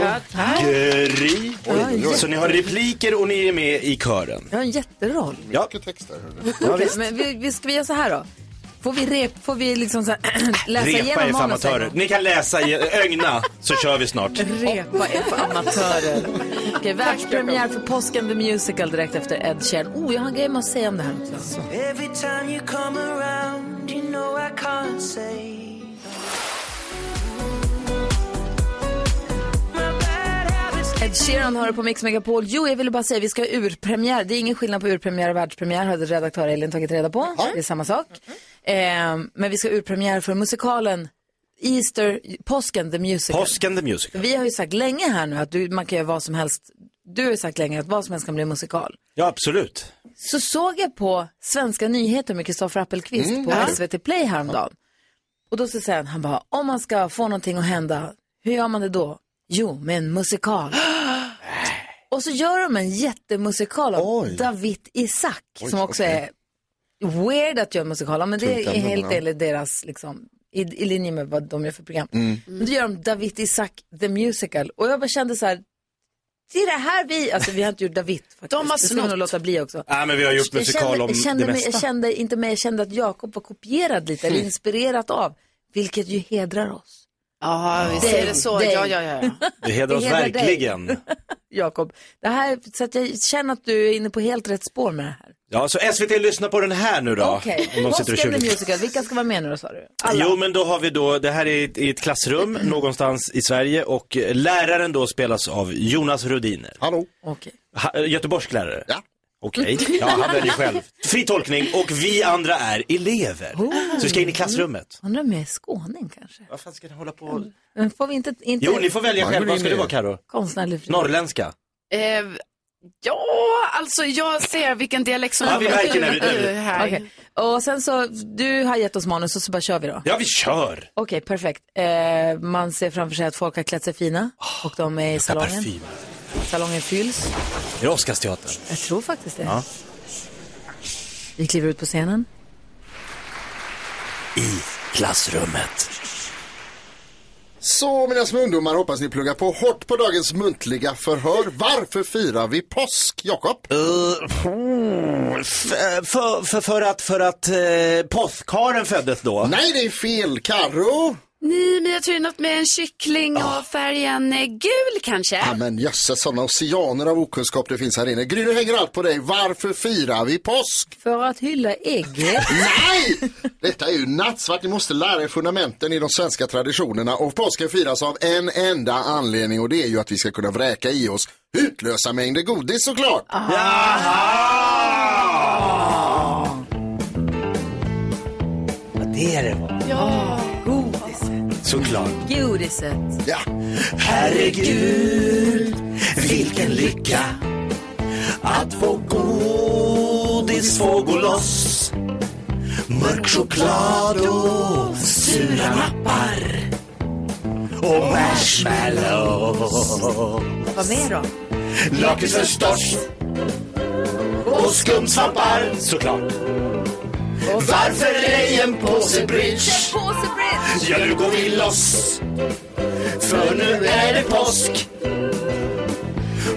[SPEAKER 9] Gry.
[SPEAKER 4] oj, oj.
[SPEAKER 9] Så ni har repliker och ni är med i kören.
[SPEAKER 1] Jag har en jätteroll.
[SPEAKER 9] Ja,
[SPEAKER 4] Mycket text där hörru.
[SPEAKER 9] ja
[SPEAKER 1] Okej,
[SPEAKER 9] visst.
[SPEAKER 1] men vi, vi, ska vi göra så här då? Får vi, rep, får vi liksom så här, <clears throat> läsa
[SPEAKER 9] Repa er
[SPEAKER 1] igenom
[SPEAKER 9] för
[SPEAKER 1] manus en
[SPEAKER 9] amatörer.
[SPEAKER 1] gång?
[SPEAKER 9] Ni kan läsa, i, ögna, så kör vi snart.
[SPEAKER 1] Repa er för amatörer. Okej, världspremiär för Påsken the Musical direkt efter Ed Sheeran. Oh, jag har en grej med att säga om det här också. Ed Sheeran hör på Mix Megapol. Jo, jag ville bara säga vi ska ha urpremiär. Det är ingen skillnad på urpremiär och världspremiär hade redaktör Elin tagit reda på. Det är samma sak. Eh, men vi ska ha urpremiär för musikalen Easter, påsken, the musical.
[SPEAKER 3] Påsken the Musical.
[SPEAKER 1] Vi har ju sagt länge här nu att du, man kan göra vad som helst. Du har ju sagt länge att vad som helst kan bli en musikal.
[SPEAKER 3] Ja, absolut.
[SPEAKER 1] Så såg jag på Svenska nyheter med Kristoffer Appelqvist
[SPEAKER 3] Mm,
[SPEAKER 1] på
[SPEAKER 3] ja.
[SPEAKER 1] SVT Play häromdagen. Och då så säger han, han bara, om man ska få någonting att hända, hur gör man det då? Jo, med en
[SPEAKER 5] <gasps>
[SPEAKER 1] musikal. Och så gör de en jättemusikal av David Isaac,
[SPEAKER 5] Oj,
[SPEAKER 1] som också
[SPEAKER 5] okej.
[SPEAKER 1] är weird att göra musikaler, men det är
[SPEAKER 5] Tungt ämne,
[SPEAKER 1] helt
[SPEAKER 5] ja.
[SPEAKER 1] enligt deras, liksom, i, i linje med vad de gör för program.
[SPEAKER 5] Mm.
[SPEAKER 1] Men då gör de David Isaac The Musical, och jag bara kände så här, det är det här vi, alltså vi har inte gjort David faktiskt.
[SPEAKER 6] har
[SPEAKER 1] Det ska vi nog
[SPEAKER 6] snott.
[SPEAKER 1] låta bli också.
[SPEAKER 9] Äh,
[SPEAKER 3] Nej, men vi har gjort
[SPEAKER 1] Jag
[SPEAKER 3] musikal
[SPEAKER 1] kände,
[SPEAKER 3] om
[SPEAKER 1] jag kände
[SPEAKER 3] det
[SPEAKER 1] mig,
[SPEAKER 3] mesta.
[SPEAKER 1] Jag kände inte mig, jag kände att Jakob var kopierad lite, eller
[SPEAKER 3] Mm.
[SPEAKER 1] inspirerat av, vilket ju hedrar oss.
[SPEAKER 6] Ja, vi ser det så. Ja, ja, ja, ja.
[SPEAKER 3] Det hedrar oss
[SPEAKER 1] Det hedrar dig.
[SPEAKER 3] verkligen.
[SPEAKER 1] <laughs> Jakob, det här, så att jag känner att du är inne på helt rätt spår med det här.
[SPEAKER 3] Ja, så SVT lyssna på den här nu då.
[SPEAKER 1] Okej,
[SPEAKER 3] Om de sitter och
[SPEAKER 1] Påsken the
[SPEAKER 3] tjuvlyssnar.
[SPEAKER 1] Musical, vilka ska vara med nu då sa du?
[SPEAKER 3] Jo, men då har vi då, det här är i ett, i ett klassrum
[SPEAKER 1] Mm.
[SPEAKER 3] någonstans i Sverige och eh, läraren då spelas av Jonas Rhodiner.
[SPEAKER 4] Hallå.
[SPEAKER 1] Okej. Mm.
[SPEAKER 3] Ha, eh, Göteborgslärare?
[SPEAKER 4] Ja.
[SPEAKER 3] Okej, ja, han väljer själv. Fri tolkning och vi andra är elever.
[SPEAKER 1] Oh.
[SPEAKER 3] Så vi ska in i klassrummet.
[SPEAKER 1] Undrar om jag är skåning kanske?
[SPEAKER 3] Vad fan ska ni hålla på?
[SPEAKER 1] Men får vi inte... inte
[SPEAKER 3] Jo, ni får välja
[SPEAKER 1] Man
[SPEAKER 3] själva.
[SPEAKER 1] går
[SPEAKER 3] Vad
[SPEAKER 1] in
[SPEAKER 3] ska du
[SPEAKER 1] i-
[SPEAKER 3] vara Karo?
[SPEAKER 1] Konstnärlig frihet.
[SPEAKER 3] Norrländska?
[SPEAKER 6] Eh, ja, alltså jag ser vilken dialekt som
[SPEAKER 3] Ja, vi märker när vi- när vi-
[SPEAKER 6] Eh, här.
[SPEAKER 1] Okej. Och sen så, du har gett oss manus och så bara kör vi då.
[SPEAKER 3] Ja, vi kör!
[SPEAKER 1] Okej, perfekt. Eh, man ser framför sig att folk har klätt sig fina och de är i salongen.
[SPEAKER 3] parfym.
[SPEAKER 1] Salongen fylls.
[SPEAKER 3] Är det Oscarsteatern?
[SPEAKER 1] Jag tror faktiskt det.
[SPEAKER 3] Ja.
[SPEAKER 1] Vi kliver ut på scenen.
[SPEAKER 3] I klassrummet.
[SPEAKER 4] Så mina små ungdomar, hoppas ni pluggar på hårt på dagens muntliga förhör. Varför firar vi påsk, Jakob?
[SPEAKER 3] För, för, för, för att, för att eh, påskkaren föddes då?
[SPEAKER 4] Nej, det är fel, Karo.
[SPEAKER 6] Nej, men jag tror det är något med en kyckling
[SPEAKER 4] Ah.
[SPEAKER 6] och färgen eh, gul kanske.
[SPEAKER 4] Ja, men jösses, sådana oceaner av okunskap det finns här inne. Gry, nu hänger allt på dig. Varför firar vi påsk?
[SPEAKER 1] För att hylla ägg.
[SPEAKER 4] Nej! Detta är ju nattsvart. Ni måste lära er fundamenten i de svenska traditionerna. Och påsken firas av en enda anledning och det är ju att vi ska kunna vräka i oss utlösa mängder godis såklart.
[SPEAKER 3] Ja, det är det va?
[SPEAKER 6] Ja.
[SPEAKER 3] Såklart.
[SPEAKER 1] Godiset.
[SPEAKER 4] Ja.
[SPEAKER 3] Herregud, vilken lycka att få godis få gå loss. Mörk choklad och sura nappar och marshmallows.
[SPEAKER 1] Vad mer då?
[SPEAKER 3] Lakrits förstås och skumsvampar såklart. Varför ej en påse bridge? Ja, nu går vi loss. För nu är det påsk.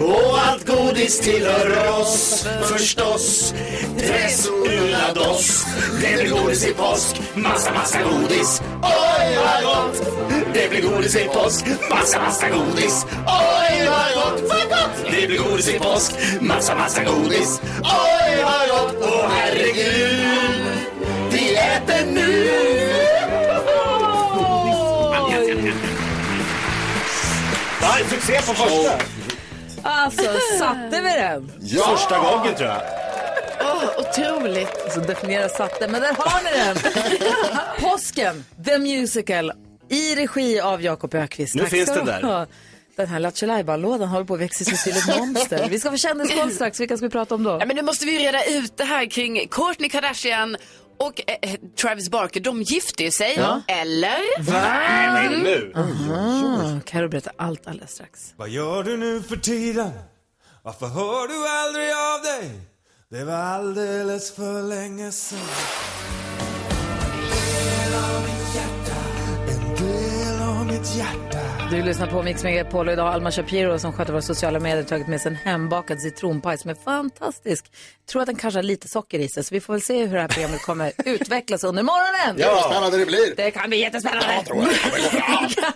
[SPEAKER 3] Och allt godis tillhör oss, förstås. Tres dos. Det blir godis i påsk, massa, massa godis. Oj, vad gott! Det blir godis i påsk, massa, massa godis. Oj, vad gott! Vad gott! Det blir godis i påsk, massa, massa godis. Oj, vad gott! Åh, herregud! Vi äter nu! Det här är succé på första.
[SPEAKER 1] Alltså, satte vi den?
[SPEAKER 4] Ja.
[SPEAKER 3] Första gången tror jag.
[SPEAKER 6] Åh, otroligt.
[SPEAKER 1] Alltså definiera satte, men där har ni den.
[SPEAKER 3] <laughs>
[SPEAKER 1] Påsken, The Musical, i regi av Jakob Ökvist.
[SPEAKER 3] Nu
[SPEAKER 1] Tack
[SPEAKER 3] finns
[SPEAKER 1] ska
[SPEAKER 3] den
[SPEAKER 1] du
[SPEAKER 3] där.
[SPEAKER 1] ha. Den här Lattjo Lajban-lådan håller på att växa sig till ett monster. Vi ska få
[SPEAKER 6] <laughs>
[SPEAKER 1] kändisgolv strax, vilka ska vi prata om då?
[SPEAKER 6] Ja, men nu måste vi reda ut det här kring Kourtney Kardashian och eh, eh, Travis Barker. De gifte ju sig,
[SPEAKER 1] Ja.
[SPEAKER 6] eller?
[SPEAKER 1] Aha, Carro berättar allt alldeles strax.
[SPEAKER 11] Vad gör du nu för tiden? Varför hör du aldrig av dig? Det var alldeles för länge sedan En del av mitt hjärta
[SPEAKER 1] Du lyssnar på Mix Megapol och idag har Alma Shapiro som sköter våra sociala medier tagit med sig en hembakad citronpaj som är fantastisk. Jag tror att den kanske har lite socker i sig så vi får väl se hur det här programmet
[SPEAKER 4] <laughs>
[SPEAKER 1] kommer utvecklas under morgonen.
[SPEAKER 4] Ja, vad spännande det blir.
[SPEAKER 1] Det kan bli jättespännande.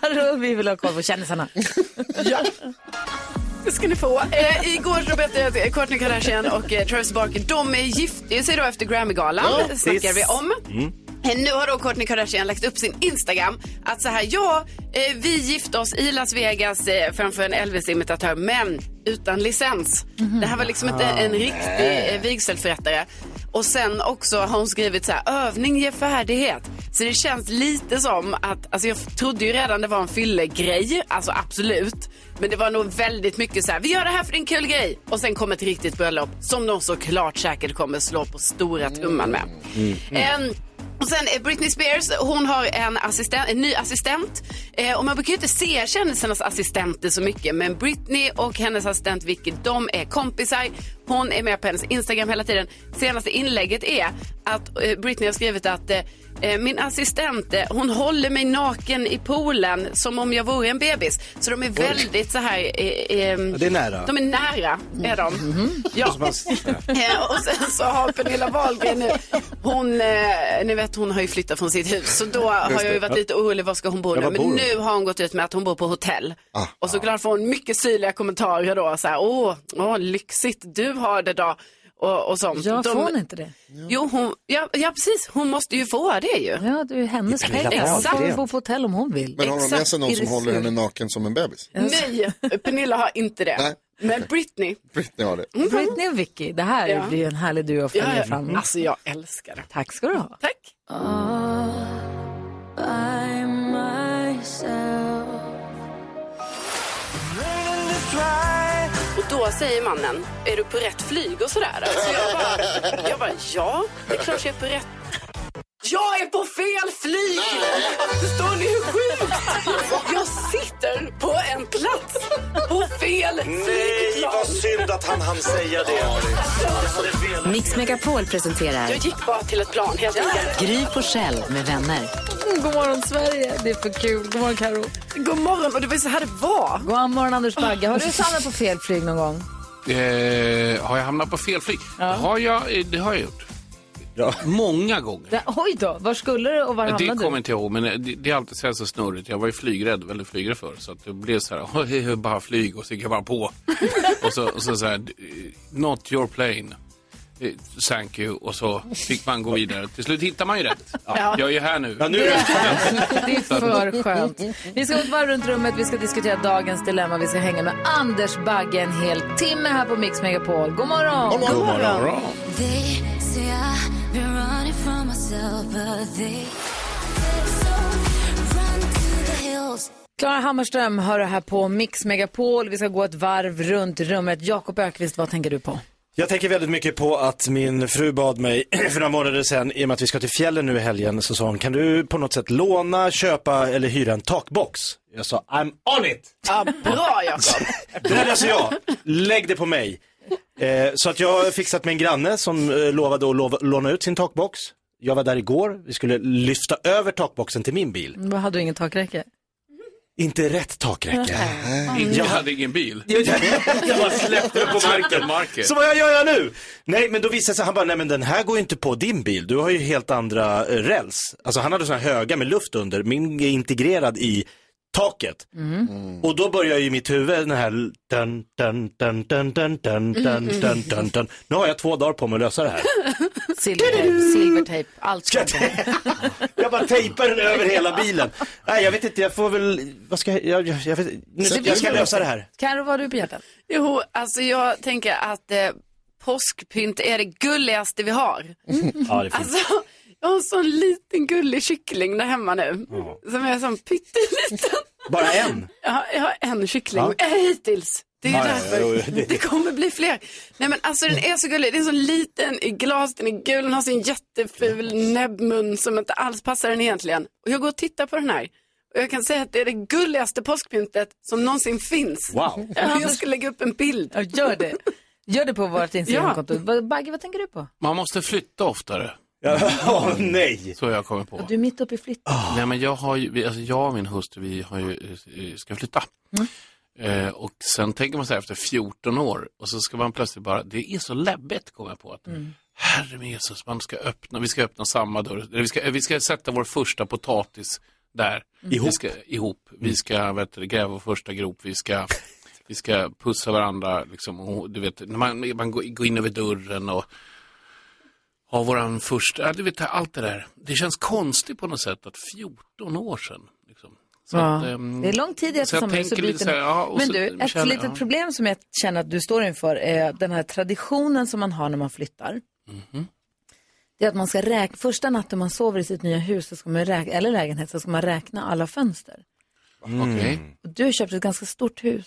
[SPEAKER 1] Karo, vi vill ha koll på kändisarna.
[SPEAKER 6] Det ska ni få. Eh, igår så berättade jag att Kourtney Kardashian och eh, Travis Barker, de är gifte sig då efter Grammygalan.
[SPEAKER 4] Ja,
[SPEAKER 9] Mm.
[SPEAKER 6] snackar vi om. Eh, Nu har då Kourtney Kardashian lagt upp sin Instagram att så här, ja, eh, vi gifte oss i Las Vegas eh, framför en Elvis-imitatör, men utan licens. Det här var liksom inte en
[SPEAKER 9] Ah.
[SPEAKER 6] riktig eh, vigselförrättare. Och sen också har hon skrivit så här, övning ger färdighet. Så det känns lite som att, alltså jag trodde ju redan det var en fyllegrej, alltså absolut. Men det var nog väldigt mycket så här, vi gör det här för en kul grej. Och sen kommer ett riktigt bröllop som de såklart säkert kommer slå på stora tumman med.
[SPEAKER 9] Mm.
[SPEAKER 6] Ehm, och sen eh, Britney Spears, hon har en, assistent, en ny assistent. Eh, och man brukar ju inte se kändisarnas assistenter så mycket. Men Britney och hennes assistent Vicky, de är kompisar. Hon är med på hennes Instagram hela tiden. Senaste inlägget är att eh, Britney har skrivit att eh, eh, min assistent, eh, hon håller mig naken i poolen som om jag vore en bebis. Så de är väldigt så här... Eh, eh,
[SPEAKER 9] det är nära. Mm.
[SPEAKER 6] De är nära, är de.
[SPEAKER 11] Mm.
[SPEAKER 6] Mm. Ja. Eh, och sen så har Pernilla Wahlgren nu, hon, eh, ni vet hon har ju flyttat från sitt hus. Så då har
[SPEAKER 9] Just
[SPEAKER 6] jag
[SPEAKER 9] det.
[SPEAKER 6] ju varit
[SPEAKER 9] Ja.
[SPEAKER 6] lite orolig, var ska hon
[SPEAKER 9] Ja,
[SPEAKER 6] bo nu?
[SPEAKER 9] var bor
[SPEAKER 6] Men
[SPEAKER 9] hon?
[SPEAKER 6] nu har hon gått ut med att hon bor på hotell.
[SPEAKER 9] Ah.
[SPEAKER 6] Och såklart får hon mycket syrliga kommentarer då, så här, åh, åh lyxigt du har det då. Och, och sånt.
[SPEAKER 1] Jag
[SPEAKER 6] De-
[SPEAKER 1] får inte det.
[SPEAKER 6] Jo, hon, ja, ja, precis, hon måste ju få det ju.
[SPEAKER 1] Ja, det är ju hennes pengar. Hon
[SPEAKER 6] Exakt.
[SPEAKER 1] får bo på hotell om hon vill.
[SPEAKER 4] Men har hon med sig någon som håller henne naken som en bebis?
[SPEAKER 6] Nej, Pernilla har inte det.
[SPEAKER 4] Nej.
[SPEAKER 6] Men Britney, Mm.
[SPEAKER 4] Britney har det.
[SPEAKER 1] Britney och Vicky, det här
[SPEAKER 6] Ja.
[SPEAKER 1] blir ju en härlig duo att följa
[SPEAKER 6] Ja, ja.
[SPEAKER 1] fram emot.
[SPEAKER 6] alltså jag älskar det.
[SPEAKER 1] Tack ska du ha.
[SPEAKER 6] Tack. Och då säger mannen, är du på rätt flyg och sådär? Så jag bara, jag bara ja, det är klart jag är på rätt. Jag är på fel flyg! Förstår ni hur sjukt? Jag sitter på en plats på fel
[SPEAKER 7] Nej, vad synd att han hann säga det.
[SPEAKER 2] Mix Megapol presenterar
[SPEAKER 6] Jag gick bara till ett plan helt enkelt.
[SPEAKER 2] Gry på Själ med vänner.
[SPEAKER 1] God morgon Sverige, det är för kul. God morgon Karo.
[SPEAKER 6] God morgon, och det var ju så här det var.
[SPEAKER 1] God morgon Anders Bagge. Har du samlat på fel flyg någon gång?
[SPEAKER 12] Eh, har jag hamnat på fel flyg? Har jag, eh, det har jag gjort. Många gånger.
[SPEAKER 1] Där, oj då, var skulle du och var
[SPEAKER 12] det
[SPEAKER 1] hamnade <laughs>
[SPEAKER 12] kommer
[SPEAKER 1] du?
[SPEAKER 12] inte jag ihåg, men eh, det, det är alltid så, här så snurrigt. Jag var ju flygrädd, väldigt flygrädd förr. Så att det blev så här, <laughs> "Oj, jag bara flyg och så gick jag bara
[SPEAKER 1] <laughs>
[SPEAKER 12] på. och så, och så, så här, eh, not your plane. Eh, Thank you. Och så fick man gå vidare. Till slut hittar man ju rätt.
[SPEAKER 1] Ja.
[SPEAKER 12] Jag är ju här nu.
[SPEAKER 1] Det är för skönt. Vi ska gå ett varv runt rummet, vi ska diskutera dagens dilemma, vi ska hänga med Anders Bagge en hel timme här på Mix Megapol. God morgon!
[SPEAKER 9] God morgon. God morgon. God morgon.
[SPEAKER 13] They say I've been running from myself, but they
[SPEAKER 1] Klara Hammarström hör det här på Mix Megapol. Vi ska gå ett varv runt rummet. Jakob Ökvist, vad tänker du på?
[SPEAKER 9] Jag tänker väldigt mycket på att min fru bad mig <clears throat> för några månader sedan, i och med att vi ska till fjällen nu i helgen, så sa hon, kan du på något sätt låna, köpa eller hyra en takbox? Jag sa, I'm on it!
[SPEAKER 6] Ja, bra Jakob.
[SPEAKER 9] <laughs> Det där löser jag. Lägg det på mig. Eh, så att jag har fixat med en granne som eh, lovade att lova, låna ut sin takbox. Jag var där igår, vi skulle lyfta över takboxen till min bil.
[SPEAKER 1] Vad hade du ingen takräcke?
[SPEAKER 9] Inte rätt takräcke.
[SPEAKER 12] Inte- Jag
[SPEAKER 9] Jag-
[SPEAKER 12] hade ingen bil. <laughs>
[SPEAKER 9] jag bara släppte den på marken. Så vad jag gör jag nu? Nej, men då visade det sig, han bara, nej men den här går ju inte på din bil, du har ju helt andra eh, räls. Alltså han hade sådana här höga med luft under, min är integrerad i taket. Och då börjar ju i mitt huvud den här, dun, dun, dun, dun, dun, dun, dun, dun, dun, dun. nu har jag två dagar på mig att lösa det här.
[SPEAKER 1] Silvertejp, silvertejp allt.
[SPEAKER 9] Jag bara tejpar den över hela bilen. Nej, jag vet inte, jag får väl, vad ska jag, jag, jag, jag, vet, nu, jag ska lösa det här.
[SPEAKER 1] Carro, vad har du på hjärtat?
[SPEAKER 6] Jo, alltså jag tänker att eh, påskpynt är det gulligaste vi har.
[SPEAKER 9] Mm. Ja, det är fint.
[SPEAKER 6] Alltså, jag har en sån liten gullig kyckling där hemma nu. Som är sån pytteliten.
[SPEAKER 9] Bara en?
[SPEAKER 6] Ja, jag har en kyckling
[SPEAKER 9] Ja.
[SPEAKER 6] äh, hittills. Det är ju
[SPEAKER 9] Ja, ja,
[SPEAKER 6] därför.
[SPEAKER 9] jo, jo, det-
[SPEAKER 6] det... kommer bli fler. Nej men alltså den är så gullig. Det är så liten i glas, den är gul, den har sin jätteful näbbmun som inte alls passar den egentligen. Och jag går och tittar på den här. Och jag kan säga att det är det gulligaste påskpyntet som någonsin finns.
[SPEAKER 9] Wow.
[SPEAKER 6] Ja, Jag ska lägga upp en bild.
[SPEAKER 1] Ja, gör det. Gör det på vårt Instagramkonto. Vad- Bagge, vad tänker du på?
[SPEAKER 12] Man måste flytta oftare.
[SPEAKER 9] Ja, <laughs> nej.
[SPEAKER 12] Så har jag kommer på.
[SPEAKER 1] Du är mitt uppe i flytt.
[SPEAKER 12] Nej, men jag, har ju, vi- alltså jag och min hustru, vi har ju, eh, ska flytta.
[SPEAKER 9] Mm.
[SPEAKER 12] Eh, och sen tänker man så här efter 14 år och så ska man plötsligt bara, det är så läbbigt kommer jag på. Att,
[SPEAKER 1] Mm.
[SPEAKER 12] Herre min Jesus, man ska öppna, vi ska öppna samma dörr. Eller vi, ska, vi ska sätta vår första potatis där. Vi
[SPEAKER 9] Ihop.
[SPEAKER 12] ska, ihop. Vi ska vet, du, gräva vår första grop, vi ska, vi ska pussa varandra. Liksom, och, du vet, när man, man går, går in över dörren och ha våran första, ja, du vet allt det där. Det känns konstigt på något sätt att 14 år sedan. Liksom. Så
[SPEAKER 1] Ja.
[SPEAKER 12] att, ehm,
[SPEAKER 1] Det är lång tid i ett
[SPEAKER 12] så jag
[SPEAKER 1] samhälle
[SPEAKER 12] tänker
[SPEAKER 1] så byter
[SPEAKER 12] lite så här,
[SPEAKER 1] man.
[SPEAKER 12] ja, och
[SPEAKER 1] Men
[SPEAKER 12] så
[SPEAKER 1] du, ett
[SPEAKER 12] känner-
[SPEAKER 1] litet
[SPEAKER 12] ja.
[SPEAKER 1] problem som jag känner att du står inför är den här traditionen som man har när man flyttar.
[SPEAKER 12] Mhm.
[SPEAKER 1] Det är att man ska räkna, första natten man sover i sitt nya hus så ska man räkna, eller lägenhet så ska man räkna alla fönster.
[SPEAKER 9] Mm.
[SPEAKER 12] Okej.
[SPEAKER 1] Och du har köpt ett ganska stort hus.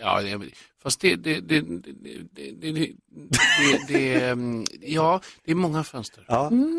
[SPEAKER 12] Ja, det- fast det... det, det, det, det, det, det, det ehm, ja, det är många fönster. Mm.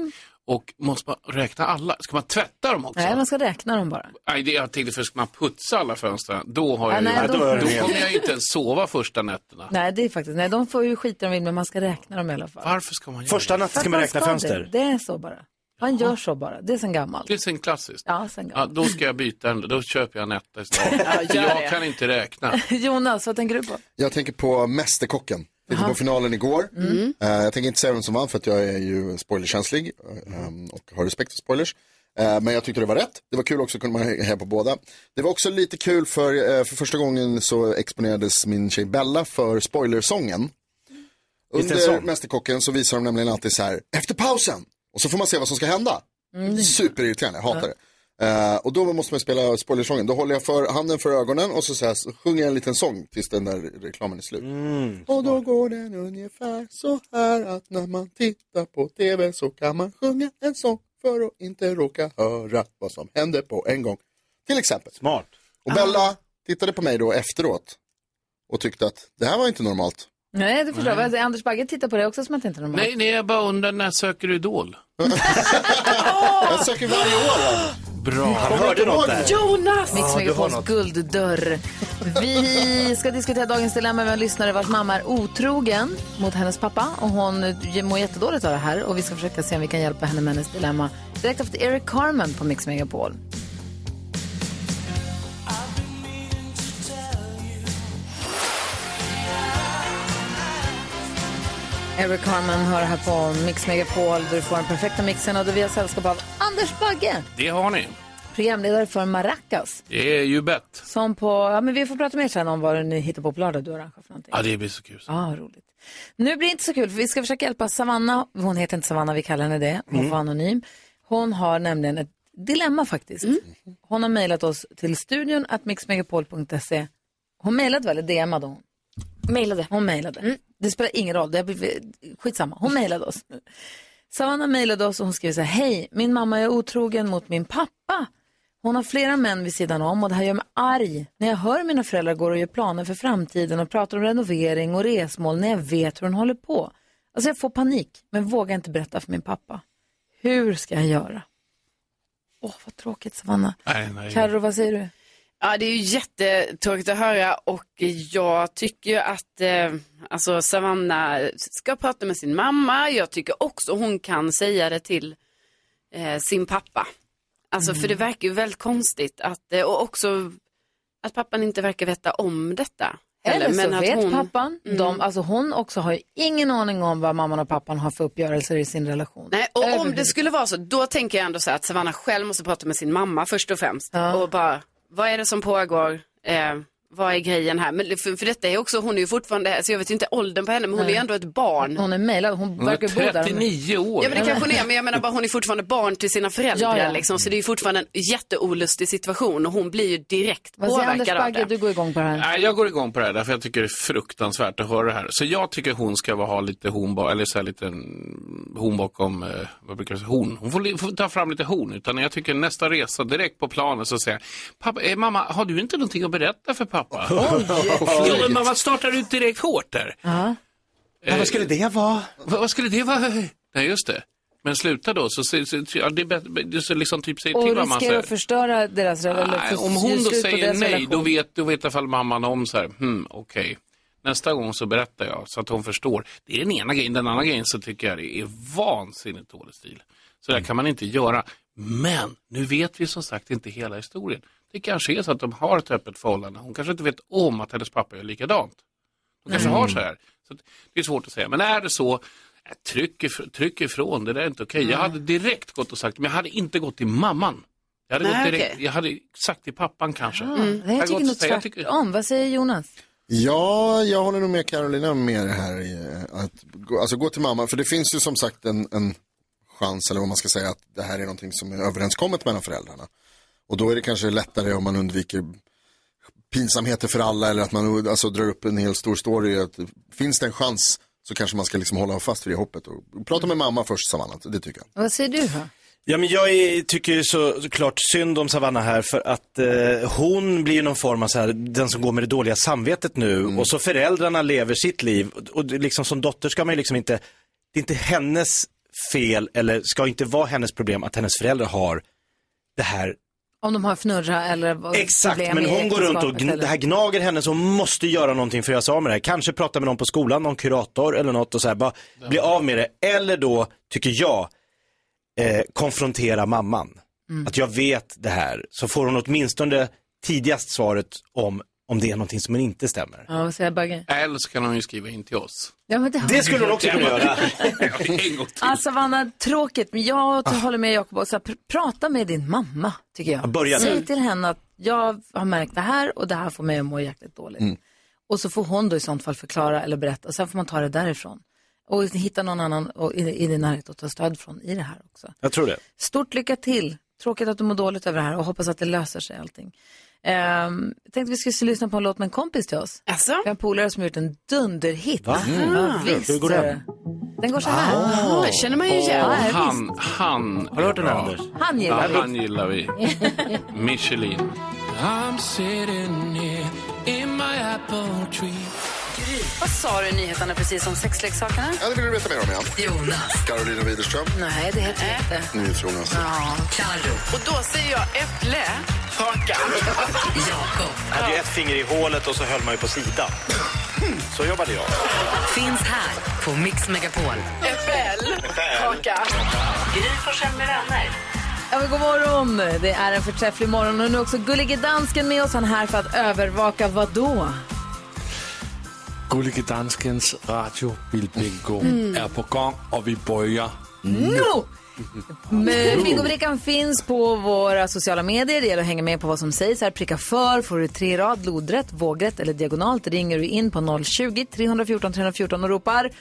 [SPEAKER 12] Och måste man räkna alla? Ska man tvätta dem också?
[SPEAKER 1] Nej, man ska räkna dem bara.
[SPEAKER 12] Nej, det jag tänkte först, ska man putsa alla fönster? Då, har
[SPEAKER 1] Ja,
[SPEAKER 12] jag, ju-
[SPEAKER 1] nej, då-
[SPEAKER 12] då,
[SPEAKER 1] Ja, då är det
[SPEAKER 12] kommer jag ju inte ens sova första nätterna.
[SPEAKER 1] Nej, det är faktiskt, nej de får ju skita de vill men man ska räkna dem i alla fall.
[SPEAKER 12] Varför ska man göra
[SPEAKER 9] Första
[SPEAKER 12] det?
[SPEAKER 9] natten ska
[SPEAKER 1] För
[SPEAKER 9] man
[SPEAKER 1] att
[SPEAKER 9] räkna
[SPEAKER 1] ska
[SPEAKER 9] fönster.
[SPEAKER 1] Det. det är så bara. Man gör så bara, det är sen gammalt.
[SPEAKER 12] Det är sen klassiskt.
[SPEAKER 1] Ja, sen gammalt.
[SPEAKER 12] Ja, då ska jag byta en, då köper jag en etta istället. För
[SPEAKER 1] gör
[SPEAKER 12] jag
[SPEAKER 1] det.
[SPEAKER 12] kan inte räkna.
[SPEAKER 1] <laughs> Jonas, vad tänker du på?
[SPEAKER 4] Jag tänker på Mästerkocken. Jag tittade på finalen igår.
[SPEAKER 1] Mm.
[SPEAKER 4] Eh, jag tänker inte säga vem som vann för att jag är ju spoilerkänslig eh, och har respekt för spoilers. Eh, men jag tyckte det var rätt. Det var kul också, kunde man heja på båda. Det var också lite kul för, eh, för första gången så exponerades min tjej Bella för spoilersången.
[SPEAKER 3] Visst är det
[SPEAKER 4] Under
[SPEAKER 3] sån?
[SPEAKER 4] Mästerkocken så visar de nämligen alltid så här, efter pausen! Och så får man se vad som ska hända.
[SPEAKER 12] Mm.
[SPEAKER 4] Superirriterande, jag hatar det. Eh, och då måste man spela spoilersången. Då håller jag för handen för ögonen och så, så, här, så sjunger jag en liten sång tills den där reklamen är slut.
[SPEAKER 3] Och då går den ungefär så här att när man tittar på tv så kan man sjunga en sång för att inte råka
[SPEAKER 4] Höra vad som händer på en gång. Till exempel.
[SPEAKER 9] Smart.
[SPEAKER 4] Och Bella tittade på mig då efteråt och tyckte att det här var inte normalt.
[SPEAKER 1] Nej, det förstår
[SPEAKER 4] Nej.
[SPEAKER 1] jag. Anders Bagge tittar på det också som att det inte är normalt.
[SPEAKER 12] Nej, nej, jag bara undrar, när söker du Idol?
[SPEAKER 4] jag söker varje år.
[SPEAKER 12] Bra.
[SPEAKER 1] Han
[SPEAKER 3] hörde något
[SPEAKER 1] där.
[SPEAKER 3] Jonas!
[SPEAKER 1] Mix Megapols gulddörr. Vi ska diskutera dagens dilemma med en lyssnare vars mamma är otrogen mot hennes pappa och hon mår jättedåligt av det här och vi ska försöka se om vi kan hjälpa henne med hennes dilemma direkt efter Eric Carmen på Mix Megapol. Eric Carmen hör här på Mix Megapol där du får den perfekta mixen och där vi har sällskap av Anders Bagge,
[SPEAKER 12] Det har ni.
[SPEAKER 1] programledare för Maracas.
[SPEAKER 12] Det är ju bett.
[SPEAKER 1] Som på, ja men vi får prata mer sen om vad ni hittar på på lördag, du och Arantxa.
[SPEAKER 12] Ja, det blir så kul.
[SPEAKER 1] Ja, roligt. Nu blir det inte så kul för vi ska försöka hjälpa Savanna, hon heter inte Savanna, vi kallar henne det, hon
[SPEAKER 12] Mm.
[SPEAKER 1] får vara anonym. Hon har nämligen ett dilemma faktiskt. Hon har mejlat oss till studion att mixmegapol.se. Hon mejlade väl, eller DMade hon? Mejlade. Mm. Hon mejlade. Det spelar ingen roll, det har blivit, skitsamma, hon mejlade oss. Savanna mejlade oss och hon skrev så här, hej, min mamma är otrogen mot min pappa. Hon har flera män vid sidan om och det här gör mig arg när jag hör mina föräldrar går och gör planer för framtiden och pratar om renovering och resmål när jag vet hur hon håller på. Alltså jag får panik men vågar inte berätta för min pappa. Hur ska jag göra? Åh, vad tråkigt Savanna.
[SPEAKER 12] Nej, nej.
[SPEAKER 1] Carro, vad säger du?
[SPEAKER 6] Ja, det är ju jättetråkigt att höra och jag tycker ju att eh, alltså Savanna ska prata med sin mamma. Jag tycker också hon kan säga det till eh, sin pappa. Alltså för det verkar ju väldigt konstigt att, eh, och också att pappan inte verkar veta om detta.
[SPEAKER 1] Eller så
[SPEAKER 6] men att
[SPEAKER 1] vet
[SPEAKER 6] hon- Mm.
[SPEAKER 1] pappan, de, alltså hon också har ju ingen aning om vad mamman och pappan har för uppgörelser i sin relation.
[SPEAKER 6] Nej, och om det skulle vara så, då tänker jag ändå så här att Savanna själv måste prata med sin mamma först och främst. Och bara, vad är det som pågår? Eh, vad är grejen här? Men för, för detta är också, hon är ju fortfarande, alltså jag vet ju inte åldern på henne, men hon
[SPEAKER 1] Nej.
[SPEAKER 6] är ändå ett barn.
[SPEAKER 1] Hon är mejlad, hon
[SPEAKER 6] Hon är
[SPEAKER 1] verkar bo där.
[SPEAKER 6] 39
[SPEAKER 12] år.
[SPEAKER 6] Ja men det kanske hon är, men jag menar bara hon är fortfarande barn till sina föräldrar
[SPEAKER 1] Ja, ja.
[SPEAKER 6] liksom. Så det är ju fortfarande en jätteolustig situation och hon blir ju direkt
[SPEAKER 1] Vad säger Anders
[SPEAKER 6] påverkad av
[SPEAKER 1] Bagge,
[SPEAKER 6] det.
[SPEAKER 1] du går igång på det här.
[SPEAKER 12] Nej, jag går igång på det här därför jag tycker det är fruktansvärt att höra det här. Så jag tycker hon ska vara, ha lite horn bakom, eller så här lite mm, horn bakom, eh, vad brukar det säga, horn. Hon får, li- får ta fram lite horn. Utan jag tycker nästa resa direkt på planen så säger jag, pappa, eh, mamma, har du inte någonting att berätta för <laughs> pappa? Jo, men mamma startar ut direkt hårt där.
[SPEAKER 1] Ja.
[SPEAKER 12] Eh, vad skulle det vara? Vad, skulle det vara? Nej, just det. Men sluta då, så, så, så, ja, det är bättre, det är så liksom typ säg till
[SPEAKER 1] Och
[SPEAKER 12] mamma så
[SPEAKER 1] riskerar
[SPEAKER 12] här.
[SPEAKER 1] att förstöra deras relation.
[SPEAKER 12] Nej, om hon då säger nej, då vet, då vet i alla fall mamman om så här, hmm, okej. Nästa gång så berättar jag så att hon förstår. Det är den ena grejen. Den andra grejen så tycker jag det är vansinnigt dålig stil. Så
[SPEAKER 1] Mm.
[SPEAKER 12] där kan man inte göra. Men nu vet vi som sagt inte hela historien. Det kanske är så att de har ett öppet förhållande. Hon kanske inte vet om att hennes pappa gör likadant. De kanske
[SPEAKER 9] Mm.
[SPEAKER 12] har så här. Så att det är svårt att säga. Men är det så, äh, tryck, if- tryck ifrån, det där är inte okej. Jag hade direkt gått och sagt, men jag hade inte gått till mamman. Jag hade,
[SPEAKER 1] Nej,
[SPEAKER 12] gått direkt,
[SPEAKER 1] okej.
[SPEAKER 12] jag hade sagt till pappan kanske.
[SPEAKER 1] Mm.
[SPEAKER 12] Jag
[SPEAKER 1] Jag
[SPEAKER 12] hade
[SPEAKER 1] tycker
[SPEAKER 12] gått och
[SPEAKER 1] nog
[SPEAKER 12] sagt, jag tycker-
[SPEAKER 1] tvärtom. Vad säger Jonas?
[SPEAKER 4] Ja, jag håller nog med Carolina mer här. i Att gå, alltså gå till mamma, för det finns ju som sagt en, en chans, eller vad man ska säga, att det här är någonting som är överenskommet mellan föräldrarna. Och då är det kanske lättare om man undviker pinsamheter för alla eller att man alltså, drar upp en hel stor story. Att, finns det en chans så kanske man ska liksom hålla fast vid det hoppet. Och prata med mamma först, Samantha, det tycker jag.
[SPEAKER 1] Vad säger du då?
[SPEAKER 9] Ja, men jag är, tycker ju så, såklart synd om Savannah här för att eh, hon blir ju någon form av så här, den som går med det dåliga samvetet nu och så föräldrarna lever sitt liv och, och det- liksom som dotter ska man ju liksom inte, det är inte hennes fel eller ska inte vara hennes problem att hennes föräldrar har det här
[SPEAKER 1] Om de har fnurra eller vad-
[SPEAKER 9] Exakt,
[SPEAKER 1] problem
[SPEAKER 9] men
[SPEAKER 1] i
[SPEAKER 9] hon går runt och
[SPEAKER 1] äktenskapet
[SPEAKER 9] gn-
[SPEAKER 1] eller-
[SPEAKER 9] det här gnager henne så hon måste göra någonting för att göra sig av med det här. Kanske prata med någon på skolan, någon kurator eller något och så här, bara bli av med det. Eller då, tycker jag, eh, konfrontera mamman. Att jag vet det här, så får hon åtminstone tidigast svaret om, om det är någonting som inte stämmer.
[SPEAKER 1] Ja, vad säger Bagge?
[SPEAKER 12] Eller så kan hon ju skriva in till oss.
[SPEAKER 1] Ja, men har
[SPEAKER 9] Det
[SPEAKER 1] vi
[SPEAKER 9] skulle
[SPEAKER 1] gjort.
[SPEAKER 9] hon också
[SPEAKER 12] <laughs>
[SPEAKER 9] kunna göra.
[SPEAKER 1] Alltså Vanna, tråkigt, men jag håller med Jakob. också. Pr- Prata med din mamma, tycker jag.
[SPEAKER 9] Ah. Ja, börja där.
[SPEAKER 1] Säg till henne att jag har märkt det här och det här får mig att må jäkligt dåligt.
[SPEAKER 9] Mm.
[SPEAKER 1] Och så får hon då i sånt fall förklara eller berätta och sen får man ta det därifrån. Och hitta någon annan och- i, i din närhet att ta stöd från i det här också.
[SPEAKER 9] Jag tror det.
[SPEAKER 1] Stort lycka till. Tråkigt att du mår dåligt över det här och hoppas att det löser sig allting. Ehm, jag tänkte vi skulle lyssna på en låt med en kompis till oss.
[SPEAKER 6] Alltså?
[SPEAKER 1] Vi har en polare som har gjort en dunderhit.
[SPEAKER 12] Va? Mm.
[SPEAKER 1] Ja, visst.
[SPEAKER 12] Hur går den?
[SPEAKER 1] Den går så här.
[SPEAKER 12] Ah.
[SPEAKER 1] Den känner man ju igen.
[SPEAKER 12] Och
[SPEAKER 1] Ja, visst.
[SPEAKER 12] han, han. Har du hört den Anders?
[SPEAKER 1] Han gillar vi.
[SPEAKER 12] ja, han gillar
[SPEAKER 1] <laughs>
[SPEAKER 12] vi. Michelin. I'm sitting here in my apple tree.
[SPEAKER 2] Vad sa du i nyheterna precis om sexleksakerna?
[SPEAKER 4] Ja, det vill du veta mer om igen.
[SPEAKER 2] Jonas.
[SPEAKER 4] Carolina Widerström,
[SPEAKER 1] Nej, det heter jag inte.
[SPEAKER 4] NyhetsJonas.
[SPEAKER 1] Ja, Karo.
[SPEAKER 6] Och då säger jag äpple, haka.
[SPEAKER 9] Jag hade ju ett finger i hålet och så höll man ju på sidan. Så jobbade jag.
[SPEAKER 2] Finns här på Mix Megapol.
[SPEAKER 6] Äppel, haka.
[SPEAKER 2] Gry Forssell med vänner.
[SPEAKER 1] Ja, men god morgon! Det är en förträfflig morgon och nu är också Gullige Dansken med oss. Han är här för att övervaka vad då?
[SPEAKER 14] Gullige Danskens radiobilbingo
[SPEAKER 1] Mm.
[SPEAKER 14] er på gång och vi börjar
[SPEAKER 12] Mm.
[SPEAKER 1] Nu! Men Bingobrickan finns på våra sociala medier. Det gäller att hänga med på vad som sägs här. Pricka för, får du tre rad, lodrätt, vågrätt eller diagonalt ringer du in på 020-314 314 och ropar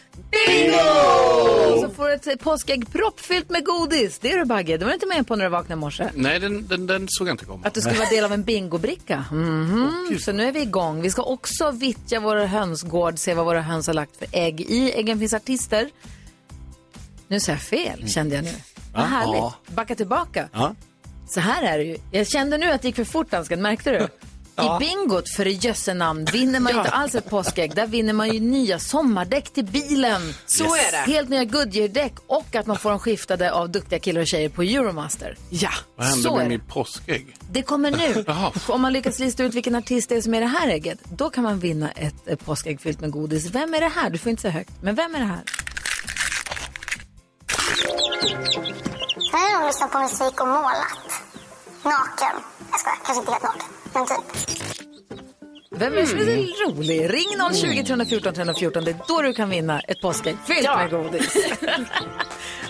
[SPEAKER 1] Bingo! Så får du ett påskägg proppfyllt med godis. Det är du Bagge, det var du inte med på när du vaknade i morse.
[SPEAKER 12] Nej, den, den, den såg jag inte komma.
[SPEAKER 1] Att du skulle vara del av en bingobricka. Mhm. så nu är vi igång. Vi ska också vittja vår hönsgård, se vad våra höns har lagt för ägg i. Äggen finns artister. Nu sa jag fel,
[SPEAKER 3] Mm.
[SPEAKER 1] Mm. kände jag nu. Vad
[SPEAKER 13] Ja.
[SPEAKER 1] härligt. Backa tillbaka.
[SPEAKER 13] Ja.
[SPEAKER 1] Så här är det ju. Jag kände nu att det gick för fort, dansken. Märkte du?
[SPEAKER 13] Ja.
[SPEAKER 1] I bingot, för i jösse namn, vinner man ju inte alls ett påskägg. Där vinner man ju nya sommardäck till bilen.
[SPEAKER 6] Så Yes. är det.
[SPEAKER 1] Helt nya Goodyear-däck och att man får dem skiftade av duktiga killar och tjejer på Euromaster.
[SPEAKER 6] Ja.
[SPEAKER 12] Vad hände
[SPEAKER 1] Så är
[SPEAKER 12] med
[SPEAKER 1] det.
[SPEAKER 12] min påskägg?
[SPEAKER 1] Det kommer nu. Om man lyckas lista ut vilken artist det är som är det här ägget, då kan man vinna ett eh, påskägg fyllt med godis. Vem är det här? Du får inte säga högt, men vem är det här?
[SPEAKER 15] Här är någon lyssnat på musik och målat. Naken. Jag skojar, kanske inte helt naken. Men typ.
[SPEAKER 1] Vem är det som är så rolig? Ring 020 314 314. Det är då du kan vinna ett påskägg fyllt med godis.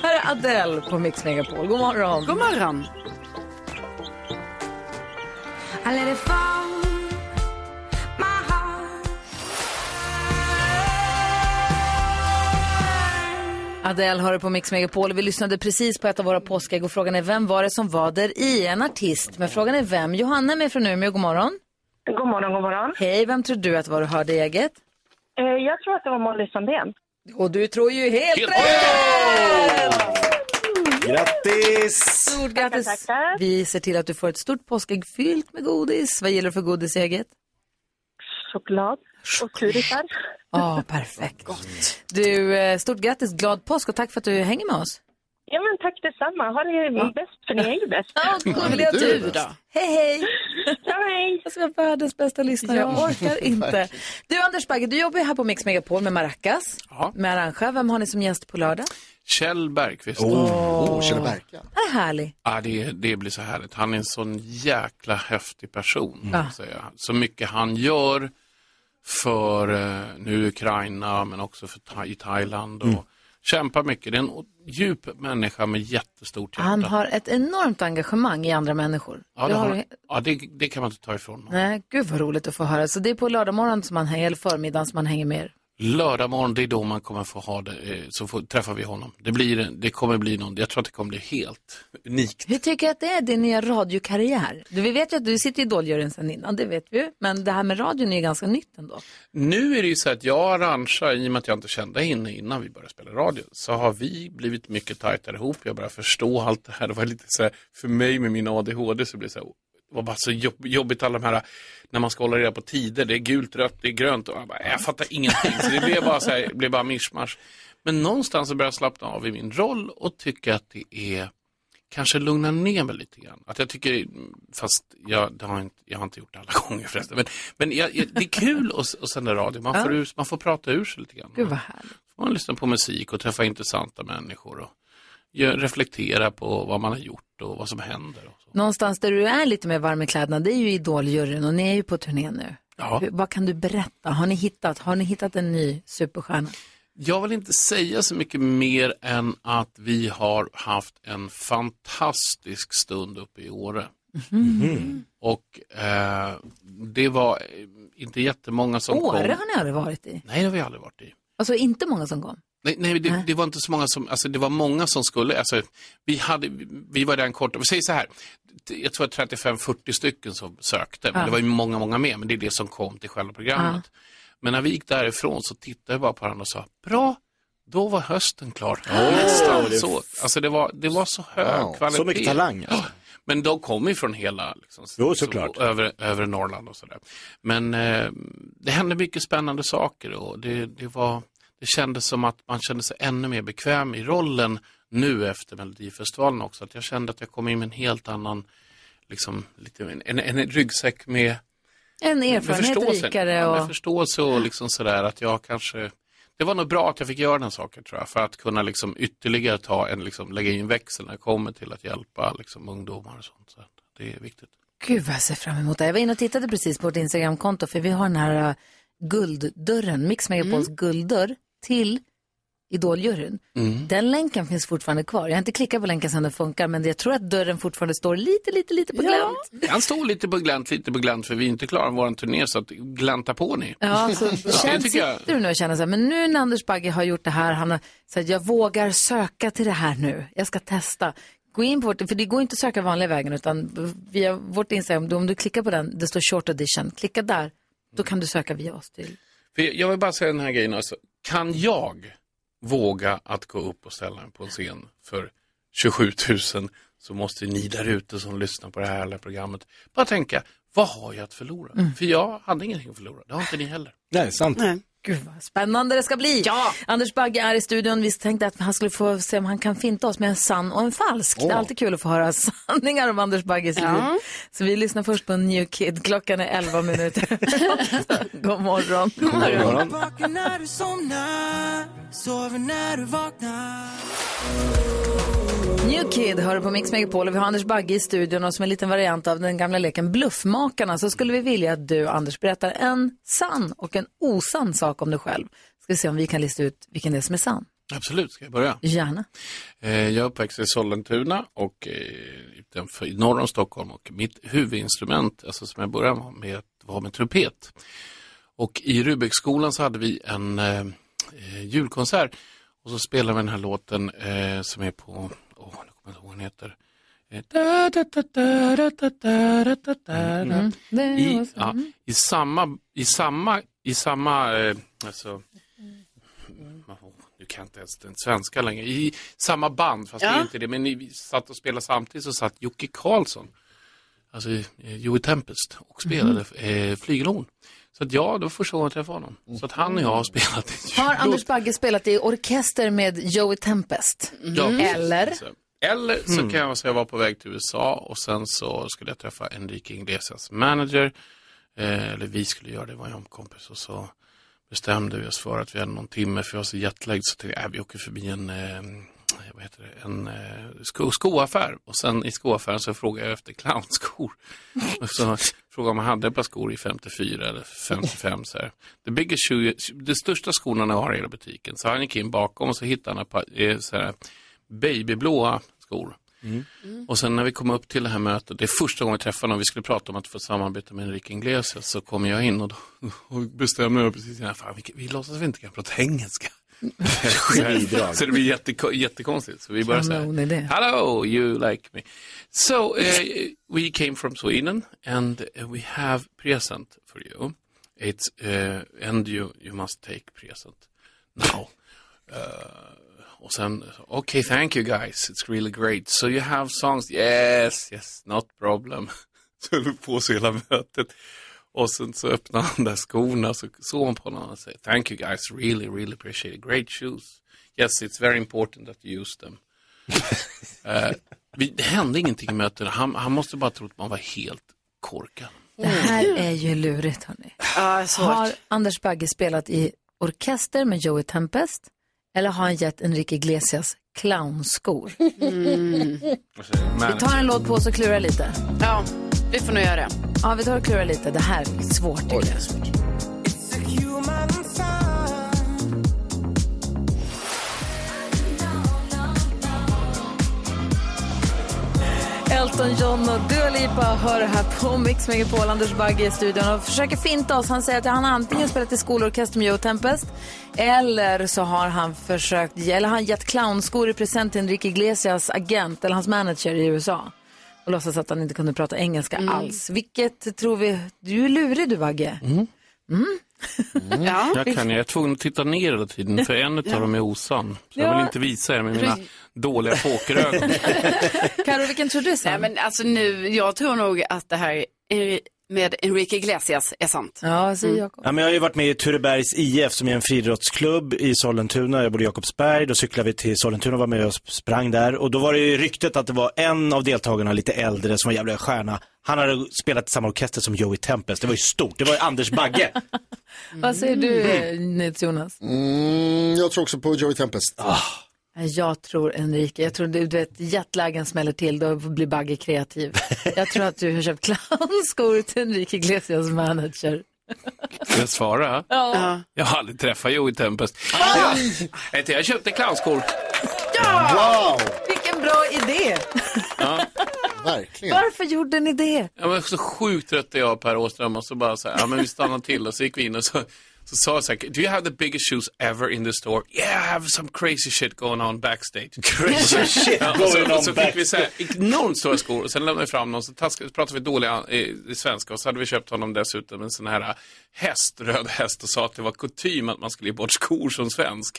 [SPEAKER 1] här är Adele på Mix Megapol. God morgon. God
[SPEAKER 6] morgon.
[SPEAKER 13] I let it fall. My heart.
[SPEAKER 1] Adele hör på Mix Megapol. Vi lyssnade precis på ett av våra påskägg och frågan är vem var det som var där i? En artist. Men frågan är vem? Johanna är med från Umeå. God morgon.
[SPEAKER 8] God morgon, god morgon.
[SPEAKER 1] Hej, vem tror du att var du hörde i ägget?
[SPEAKER 8] Eh, jag tror att det var Molly Sandén.
[SPEAKER 1] Och du tror ju helt
[SPEAKER 9] Grattis!
[SPEAKER 1] Stort grattis! Vi ser till att du får ett stort påskägg fyllt med godis. Vad gillar du för godis i ägget?
[SPEAKER 8] Choklad och turisar.
[SPEAKER 1] Ja, Ah, perfekt. Du, eh, stort grattis, glad påsk och tack för att du hänger med oss.
[SPEAKER 8] Ja, men tack detsamma. Ha det bäst, för ni är ju bäst.
[SPEAKER 1] Ja, gulliga Ja, men du är du bäst. då. Hej, hej!
[SPEAKER 8] hej!
[SPEAKER 1] Jag ska vara världens bästa lyssnare, jag orkar inte. Du, Anders Bagge, du jobbar ju här på Mix Megapol med Maracas, med Arantxa. Vem har ni som gäst på lördag?
[SPEAKER 12] Kjell Bergqvist. Oh,
[SPEAKER 1] Åh. Åh, Kjell Berka. Han är härlig.
[SPEAKER 12] Ja, det, det blir så härligt. Han är en sån jäkla häftig person.
[SPEAKER 1] Ja.
[SPEAKER 12] Säger jag. Så mycket han gör för eh, nu Ukraina men också för Tha- i Thailand och Kämpar mycket. Det är en o- djup människa med jättestort hjärta.
[SPEAKER 1] Han har ett enormt engagemang i andra människor.
[SPEAKER 12] Ja,
[SPEAKER 1] Det
[SPEAKER 12] det, har...
[SPEAKER 1] du-
[SPEAKER 12] han. ja, det, det kan man inte ta ifrån honom.
[SPEAKER 1] Nej, gud vad roligt att få höra. Så det är på lördag morgon som man hänger, eller förmiddagen som man hänger med er.
[SPEAKER 12] Lördag morgon, det är då man kommer få ha det, eh, så får, träffar vi honom. Det, blir, det kommer bli någon, jag tror att det kommer bli helt unikt.
[SPEAKER 1] Hur tycker du att det är din nya radiokarriär? Du, vi vet ju att du sitter i Idoljuryn sedan innan, det vet vi ju. Men det här med radion är ju ganska nytt ändå.
[SPEAKER 12] Nu är det ju så att jag och Arantxa, i och med att jag inte kände henne innan vi började spela radio, så har vi blivit mycket tajtare ihop. Jag börjar förstå allt det här. Det var lite så här, för mig med min ADHD så blir det så här, det var bara så jobb, jobbigt alla de här, när man ska hålla reda på tider, det är gult, rött, det är grönt och jag, bara, jag fattar ingenting. Så det blev bara så här, det blev bara mischmasch. Men någonstans så börjar jag slappna av i min roll och tycka att det är kanske lugna ner mig lite grann. Att jag tycker, fast jag, det har jag, inte, jag har inte gjort det alla <laughs> gånger förresten, men, men jag, jag, det är kul att, att sända radio. Man får,
[SPEAKER 1] Ja.
[SPEAKER 12] ur, man får prata ur sig lite grann.
[SPEAKER 1] Gud vad härligt.
[SPEAKER 12] Får man lyssna på musik och träffa intressanta människor och gö- reflektera på vad man har gjort och vad som händer. Och så.
[SPEAKER 1] Någonstans där du är lite mer varm i kläderna, det är ju Idoljuryn och ni är ju på turné nu.
[SPEAKER 12] Ja.
[SPEAKER 1] Hur, vad kan du berätta? Har ni hittat, har ni hittat en ny superstjärna?
[SPEAKER 12] Jag vill inte säga så mycket mer än att vi har haft en fantastisk stund uppe i Åre.
[SPEAKER 1] Mhm.
[SPEAKER 12] Och eh, det var eh, inte jättemånga som kom.
[SPEAKER 1] Åre har ni aldrig varit i?
[SPEAKER 12] Nej, det har vi aldrig varit i.
[SPEAKER 1] Alltså inte många som kom?
[SPEAKER 12] Nej, nej det, det var inte så många som, alltså det var många som skulle, alltså vi hade, vi var där en kort, vi säger så här, jag tror att 35-40 stycken som sökte, men
[SPEAKER 1] Ja.
[SPEAKER 12] det var ju många, många mer, men det är det som kom till själva programmet. Men när vi gick därifrån så tittade jag bara på varandra och sa, bra, då var hösten klar. Nästan
[SPEAKER 9] det-
[SPEAKER 12] så. Alltså det var, det var så hög
[SPEAKER 9] Wow.
[SPEAKER 12] kvalitet.
[SPEAKER 9] Så mycket talang, alltså.
[SPEAKER 12] Ja. Men de kom ju från hela liksom,
[SPEAKER 9] Jo, såklart.
[SPEAKER 12] så- övre, övre Norrland och sådär. Men eh, det hände mycket spännande saker och det, det, var, det kändes som att man kände sig ännu mer bekväm i rollen nu efter Melodifestivalen också. Att jag kände att jag kom in med en helt annan, liksom, lite, en, en, en ryggsäck med,
[SPEAKER 1] En erfarenhet
[SPEAKER 12] med förståelse.
[SPEAKER 1] rikare
[SPEAKER 12] Ja, med
[SPEAKER 1] och...
[SPEAKER 12] förståelse och liksom sådär att jag kanske det var nog bra att jag fick göra den saken tror jag för att kunna liksom ytterligare ta en, liksom, lägga in växel när det kommer till att hjälpa liksom, ungdomar och sånt. Så att det är viktigt.
[SPEAKER 1] Gud vad jag ser fram emot det. Jag var inne och tittade precis på vårt Instagramkonto för vi har den här äh, gulddörren, Mix Megapols gulddörr till Idoljuryn.
[SPEAKER 12] Mm.
[SPEAKER 1] Den länken finns fortfarande kvar. Jag har inte klickat på länken sedan den funkar men jag tror att dörren fortfarande står lite, lite, lite på glänt.
[SPEAKER 12] Han står lite på glänt, lite på glänt för vi är inte klara med vår turné så att glänta på ni.
[SPEAKER 1] Ja,
[SPEAKER 12] <laughs>
[SPEAKER 1] så
[SPEAKER 12] det
[SPEAKER 1] känns,
[SPEAKER 12] tycker jag.
[SPEAKER 1] sitter du nu och känner så här, men nu när Anders Bagge har gjort det här, han har sagt jag vågar söka till det här nu, jag ska testa. Gå in på vårt, för det går inte att söka vanliga vägen utan via vårt Instagram, då om du klickar på den, det står short audition, klicka där, då kan du söka via oss till.
[SPEAKER 12] För jag vill bara säga den här grejen alltså. Kan jag våga att gå upp och ställa mig på en scen för 27 000 så måste ni där ute som lyssnar på det här eller programmet bara tänka, vad har jag att förlora?
[SPEAKER 1] Mm.
[SPEAKER 12] För jag hade ingenting att förlora, det har inte ni heller.
[SPEAKER 14] Nej, sant.
[SPEAKER 1] Gud vad spännande det ska bli. Ja. Anders Bagge är i studion. Vi tänkte att han skulle få se om han kan finta oss med en sann och en falsk. Det är
[SPEAKER 5] Åh.
[SPEAKER 1] alltid kul att få höra <laughs> sanningar om Anders Bagges liv.
[SPEAKER 5] Ja.
[SPEAKER 1] Så vi lyssnar först på New Kid. Klockan är 11 <laughs> minuter God morgon. God
[SPEAKER 13] Vaken när du somnar, sover när du vaknar.
[SPEAKER 1] New Kid hör på Mix Megapol och vi har Anders Bagge i studion och som en liten variant av den gamla leken Bluffmakarna så skulle vi vilja att du Anders berättar en sann och en osann sak om dig själv. Ska vi se om vi kan lista ut vilken det är som är sann.
[SPEAKER 12] Absolut, ska jag börja?
[SPEAKER 1] Gärna.
[SPEAKER 12] Eh, Jag är uppväxt i Sollentuna och eh, utanför, i norr om Stockholm och mitt huvudinstrument, alltså som jag började med, var med trumpet. Och i Rubekskolan så hade vi en eh, eh, julkonsert och så spelade vi den här låten eh, som är på, åh, nu kommer jag inte ihåg vad den heter. Eh, da, da, da, da, da, da, da, da, da, da. Mm. I, ja, i samma, i samma, i samma, eh, alltså, nu kan jag inte ens den svenska längre. I samma band, fast det är inte det. Men ni vi satt och spelade samtidigt så satt Jocke Karlsson, alltså eh, Joey Tempest, och spelade eh, flygelhorn. Så att ja, det var första gången jag träffade honom. Så att han och jag har spelat i
[SPEAKER 1] Har Anders Bagge spelat i orkester med Joey Tempest? Mm.
[SPEAKER 12] Ja, precis.
[SPEAKER 1] Eller?
[SPEAKER 12] Så- Eller så kan jag säga att jag var på väg till USA och sen så skulle jag träffa Enrique Iglesias manager. Eh, eller vi skulle göra det, var jag och en kompis och så bestämde vi oss för att vi hade någon timme för jag var så jetlagged så tänkte jag äh, vi åker förbi en, eh, vad heter det, en eh, sko, skoaffär <laughs> och sen i skoaffären så frågade jag efter clownskor. Och så frågade om han hade ett par skor i 54 eller 55. Så här. The, biggest shoe, de största skorna han har i hela butiken. Så han gick in bakom och så hittade han ett par eh, så här, babyblåa skor. Och sen när vi kom upp till det här mötet, det är första gången vi träffar någon, vi skulle prata om att få samarbeta med Enrique Iglesias, så kommer jag in och, då, <laughs> och bestämmer mig precis innan, fan vi, vi låtsas vi inte kan prata engelska.
[SPEAKER 9] Skitbidrag.
[SPEAKER 12] så det blir jätteko- jättekonstigt. Så vi börjar så här,
[SPEAKER 1] Kanonidé.
[SPEAKER 12] hello, you like me. So, uh, we came from Sweden and uh, we have present for you. It's, uh, and you, you must take present now. Uh, och sen, okay, thank you guys, it's really great. So you have songs, yes, yes, not problem. <laughs> Så höll vi på så hela mötet. Och sen så öppnade han där skorna, så såg hon på honom och sa, thank you guys, really, really appreciate it, great shoes. Yes, it's very important that you use <laughs> them. Eh, vi, det hände ingenting i mötena, han, han måste bara tro att man var helt korkad.
[SPEAKER 1] Det här är ju lurigt hörni. Har Anders Bagge spelat i orkester med Joey Tempest? Eller har han gett Enrique Iglesias clownskor? Mm. Vi tar en låt på oss och klurar lite.
[SPEAKER 6] Ja, vi får nog göra det.
[SPEAKER 1] Ja, vi tar och klurar lite. Det här är svårt tycker jag. Elton John och Dua Lipa hör här på Mix Megapol. Anders Bagge i studion och försöker finta oss. Han säger att han antingen spelat i skolorkester med Joe Tempest eller så har han försökt, eller han gett clownskor i present till Enrique Iglesias agent eller hans manager i USA. Och låtsas att han inte kunde prata engelska
[SPEAKER 12] Mm.
[SPEAKER 1] alls. Vilket tror vi, du är lurig du Bagge. Mm. <laughs> Ja.
[SPEAKER 12] Mm. Jag kan, jag är tvungen att titta ner hela tiden för en av
[SPEAKER 1] <laughs> Ja.
[SPEAKER 12] dem är osann. Så jag
[SPEAKER 1] Ja.
[SPEAKER 12] vill inte visa er med mina dåliga pokerögon.
[SPEAKER 1] Carro, vilken tror du
[SPEAKER 6] Nej, men alltså nu, jag tror nog att det här är- med Enrique Iglesias är sant. Mm.
[SPEAKER 1] Ja, alltså, säger Jakob.
[SPEAKER 9] Ja, men jag har ju varit med i Turebergs IF som är en friidrottsklubb i Sollentuna. Jag bor i Jakobsberg. Då cyklade vi till Sollentuna och var med och sprang där. Och då var det ju ryktet att det var en av deltagarna, lite äldre, som var jävla stjärna. Han hade spelat i samma orkester som Joey Tempest. Det var ju stort. Det var ju Anders Bagge.
[SPEAKER 1] Vad säger
[SPEAKER 12] Mm.
[SPEAKER 1] du, eh, NyhetsJonas?
[SPEAKER 4] Mm, jag tror också på Joey Tempest.
[SPEAKER 1] Nej, Jag tror Enrique, jag tror du, du vet jetlagen smäller till, då blir Bagge kreativ. Jag tror att du har köpt clownskor till Enrique Iglesias manager.
[SPEAKER 12] Ska jag svara?
[SPEAKER 1] Ja. Ah!
[SPEAKER 12] Jag har aldrig träffat Joey Tempest. Jag, vet du, jag köpte clownskor.
[SPEAKER 1] Ja! Vilken bra idé!
[SPEAKER 12] Ja.
[SPEAKER 4] Verkligen.
[SPEAKER 1] Varför gjorde ni det?
[SPEAKER 12] Jag var så sjukt trött jag och Per Åström och så bara så här, ja men vi stannar till och så gick vi in och så, så sa jag så här, do you have the biggest shoes ever in the store? Yeah, I have some crazy shit going on backstage. <laughs>
[SPEAKER 9] Crazy shit
[SPEAKER 12] Ja, och
[SPEAKER 9] going
[SPEAKER 12] så,
[SPEAKER 9] on
[SPEAKER 12] och så fick vi så här, enormt stora skor och sen lämnade vi fram dem så taskade, pratade vi dåliga eh, svenska och så hade vi köpt honom dessutom en sån här eh, häst, röd häst och sa att det var kutym att man skulle ge bort skor som svensk.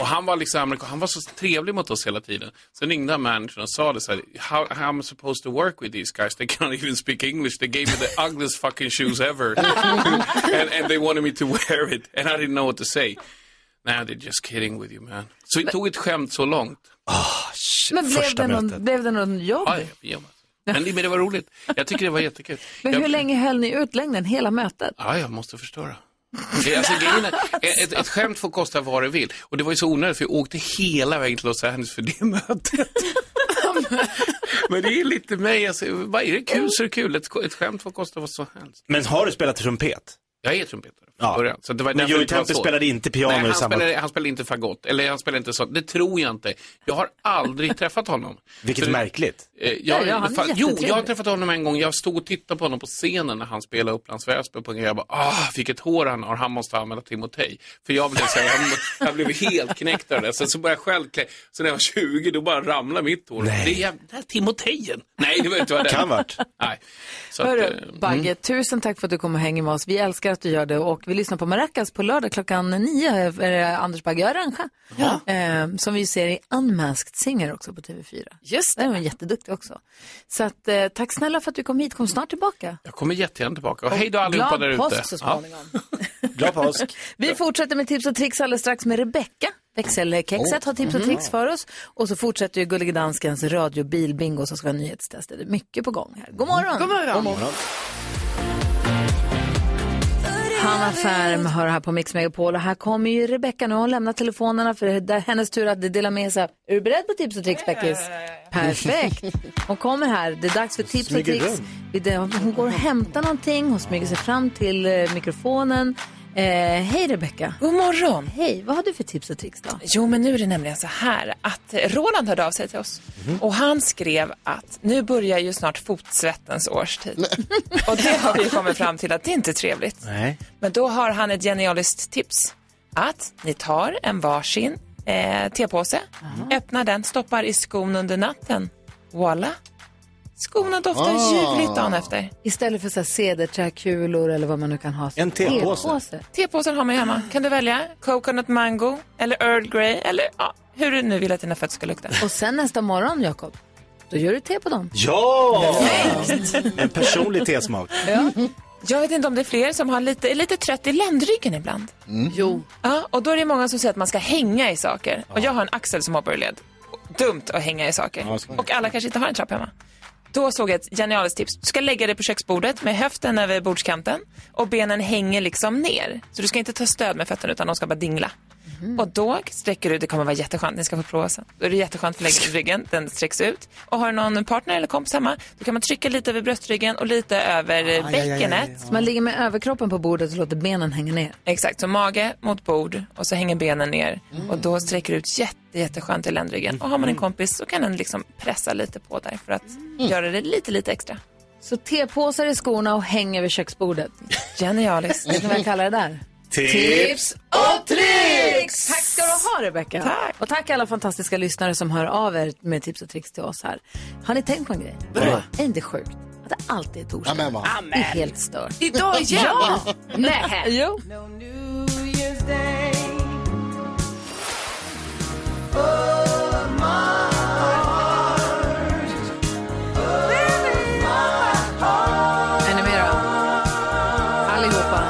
[SPEAKER 12] Och han var liksom amerikan, han var så trevlig mot oss hela tiden. Sen ringde han managern och sa det så här, how, how am I supposed to work with these guys? They can't even speak English. They gave me the ugliest fucking shoes ever.
[SPEAKER 9] <laughs>
[SPEAKER 12] and, and they wanted me to wear it. And I didn't know what to say. Now they're just kidding with you man. Så vi tog ett skämt så långt.
[SPEAKER 1] Men blev
[SPEAKER 12] Ah, Första
[SPEAKER 1] det, någon,
[SPEAKER 12] mötet.
[SPEAKER 1] blev det någon jobb?
[SPEAKER 12] Ja, ja, ja. Men, det- men det var roligt. Jag tycker det var jättekul.
[SPEAKER 1] Men
[SPEAKER 12] jag,
[SPEAKER 1] hur länge höll ni ut längden, hela mötet?
[SPEAKER 12] Ja, jag måste förstöra. Det- Alltså, grejen är, ett, ett skämt får kosta vad det vill. Och det var ju så onödigt för jag åkte hela vägen till Los Angeles för det mötet. <laughs> Men det är lite mig, alltså, vad är det kul så är det kul. Ett, ett skämt får kosta vad som helst.
[SPEAKER 9] Men har du spelat trumpet?
[SPEAKER 12] Jag är trumpetare från början. Så det var
[SPEAKER 9] Men
[SPEAKER 12] därför
[SPEAKER 9] Joey
[SPEAKER 12] inte var
[SPEAKER 9] Tempest
[SPEAKER 12] så.
[SPEAKER 9] spelade inte piano
[SPEAKER 12] Nej,
[SPEAKER 9] i
[SPEAKER 12] han
[SPEAKER 9] samma-
[SPEAKER 12] Spelade, han spelade inte fagott, eller han spelade inte sånt. Det tror jag inte. Jag har aldrig <laughs> träffat honom.
[SPEAKER 9] Vilket
[SPEAKER 12] Så-
[SPEAKER 9] märkligt.
[SPEAKER 12] Eh,
[SPEAKER 9] Ja,
[SPEAKER 12] Jag,
[SPEAKER 9] ja, han är
[SPEAKER 12] fan, jo, jag har
[SPEAKER 9] jättetrevlig.
[SPEAKER 12] träffat honom en gång. Jag stod och tittade på honom på scenen när han spelade Upplands Väsby på en grej. Jag bara, ah, vilket hår han har. Han måste använda Timotej. För jag blev, så här, <laughs> jag, jag blev helt knäckt av det. Sen så började jag själv klä. Så när jag var 20, då bara ramlade mitt hår.
[SPEAKER 9] Nej.
[SPEAKER 12] Det är jäv- det här Timotejen. Nej, det var inte vad det
[SPEAKER 9] <laughs> Kan varit.
[SPEAKER 12] Nej. Så att,
[SPEAKER 1] Hörru,
[SPEAKER 12] eh,
[SPEAKER 1] Bagge,
[SPEAKER 12] mm.
[SPEAKER 1] tusen tack för att du kom och hänger med oss. Vi älskar att du gör det och vi lyssnar på Maracas på lördag klockan nio. Är det Anders Bagge och Arantxa. Eh, som vi ser i Unmasked Singer också på TV4.
[SPEAKER 6] Just
[SPEAKER 1] det. Där är hon jätteduktig också. Så att, eh, tack snälla för att du kom hit. Kom snart tillbaka.
[SPEAKER 12] Jag kommer jättegärna tillbaka. Och hej då allihopa
[SPEAKER 1] glad
[SPEAKER 12] där ute.
[SPEAKER 1] påsk så småningom.
[SPEAKER 9] Ja. Glad påsk.
[SPEAKER 1] <laughs> Vi fortsätter med tips och tricks alldeles strax med Rebecka. Växelkexet
[SPEAKER 9] Oh.
[SPEAKER 1] har tips och
[SPEAKER 9] Mhm.
[SPEAKER 1] tricks för oss. Och så fortsätter ju Gullige Danskens radiobilbingo som ska vara nyhetstest. Det är mycket på gång här. God morgon!
[SPEAKER 6] God morgon. God morgon.
[SPEAKER 1] Hanna Färm hör här på Mix Megapol och här kommer ju Rebecca nu. Hon lämnar telefonerna för det är hennes tur att dela med sig. Är du beredd på tips och tricks, Beckis? Perfekt. Hon kommer här. Det är dags för tips och
[SPEAKER 16] smyger
[SPEAKER 1] tricks. Hon går och hämtar någonting. Hon smyger sig fram till eh, mikrofonen. Eh, hej Rebecca.
[SPEAKER 17] God morgon.
[SPEAKER 1] Hej, vad har du för tips och tricks då?
[SPEAKER 17] Jo, men nu är det nämligen så här att Roland hörde av sig till oss
[SPEAKER 12] Mhm.
[SPEAKER 17] och han skrev att nu börjar ju snart fotsvettens årstid. <laughs> och det har vi kommit fram till att det inte är trevligt.
[SPEAKER 9] Nej.
[SPEAKER 17] Men då har han ett genialiskt tips. Att ni tar en varsin eh, tepåse, öppnar den, stoppar i skon under natten. Voila! Skorna doftar
[SPEAKER 1] Ah.
[SPEAKER 17] ljuvligt dagen efter.
[SPEAKER 1] Istället för så här cederträkulor eller vad man nu kan ha.
[SPEAKER 17] En tepåse. Tepåsen har man ju hemma. Kan du välja coconut mango eller Earl Grey eller ja, hur du nu vill att dina fötter ska lukta.
[SPEAKER 1] Och sen nästa morgon, Jakob, då gör du te på dem.
[SPEAKER 9] Ja! En personlig tesmak.
[SPEAKER 17] Ja. Jag vet inte om det är fler som har lite, är lite trött i ländryggen ibland.
[SPEAKER 6] Jo.
[SPEAKER 17] Ja, och då är det många som säger att man ska hänga i saker. Och jag har en axel som hoppar ur led. Dumt att hänga i saker. och alla kanske inte har en trapp hemma. Då såg jag ett genialiskt tips. Du ska lägga dig på köksbordet med höften över bordskanten och benen hänger liksom ner. Så du ska inte ta stöd med fötterna utan de ska bara dingla. Och då sträcker du, det kommer vara jätteskönt, ni ska få prova sen. Då är det jätteskönt för lägger ryggen, den sträcks ut. Och har du någon partner eller kompis hemma, då kan man trycka lite över bröstryggen och lite över eh, bäckenet.
[SPEAKER 1] Så man ligger med överkroppen på bordet och låter benen hänga ner.
[SPEAKER 17] Exakt, så mage mot bord och så hänger benen ner och då sträcker du ut jätte, jätteskönt i ländryggen. Och har man en kompis så kan den liksom pressa lite på där för att göra Mm. det lite, lite extra.
[SPEAKER 1] Så tepåsar i skorna och hänger vid köksbordet.
[SPEAKER 17] Genialiskt.
[SPEAKER 1] Vet ni vad jag kallar det där?
[SPEAKER 9] Tips
[SPEAKER 1] och tricks! Tack ska du ha, Rebecca. Tack. Och tack alla fantastiska lyssnare som hör av er med tips och tricks till oss här. Har ni tänkt på en grej?
[SPEAKER 4] Vadå?
[SPEAKER 1] Är inte sjukt att det alltid är torsdag?
[SPEAKER 4] Amen, va?
[SPEAKER 1] Det är helt stört. <laughs>
[SPEAKER 6] Idag igen?
[SPEAKER 1] Ja!
[SPEAKER 6] Nej.
[SPEAKER 1] Jo. Är ni med då? Allihopa.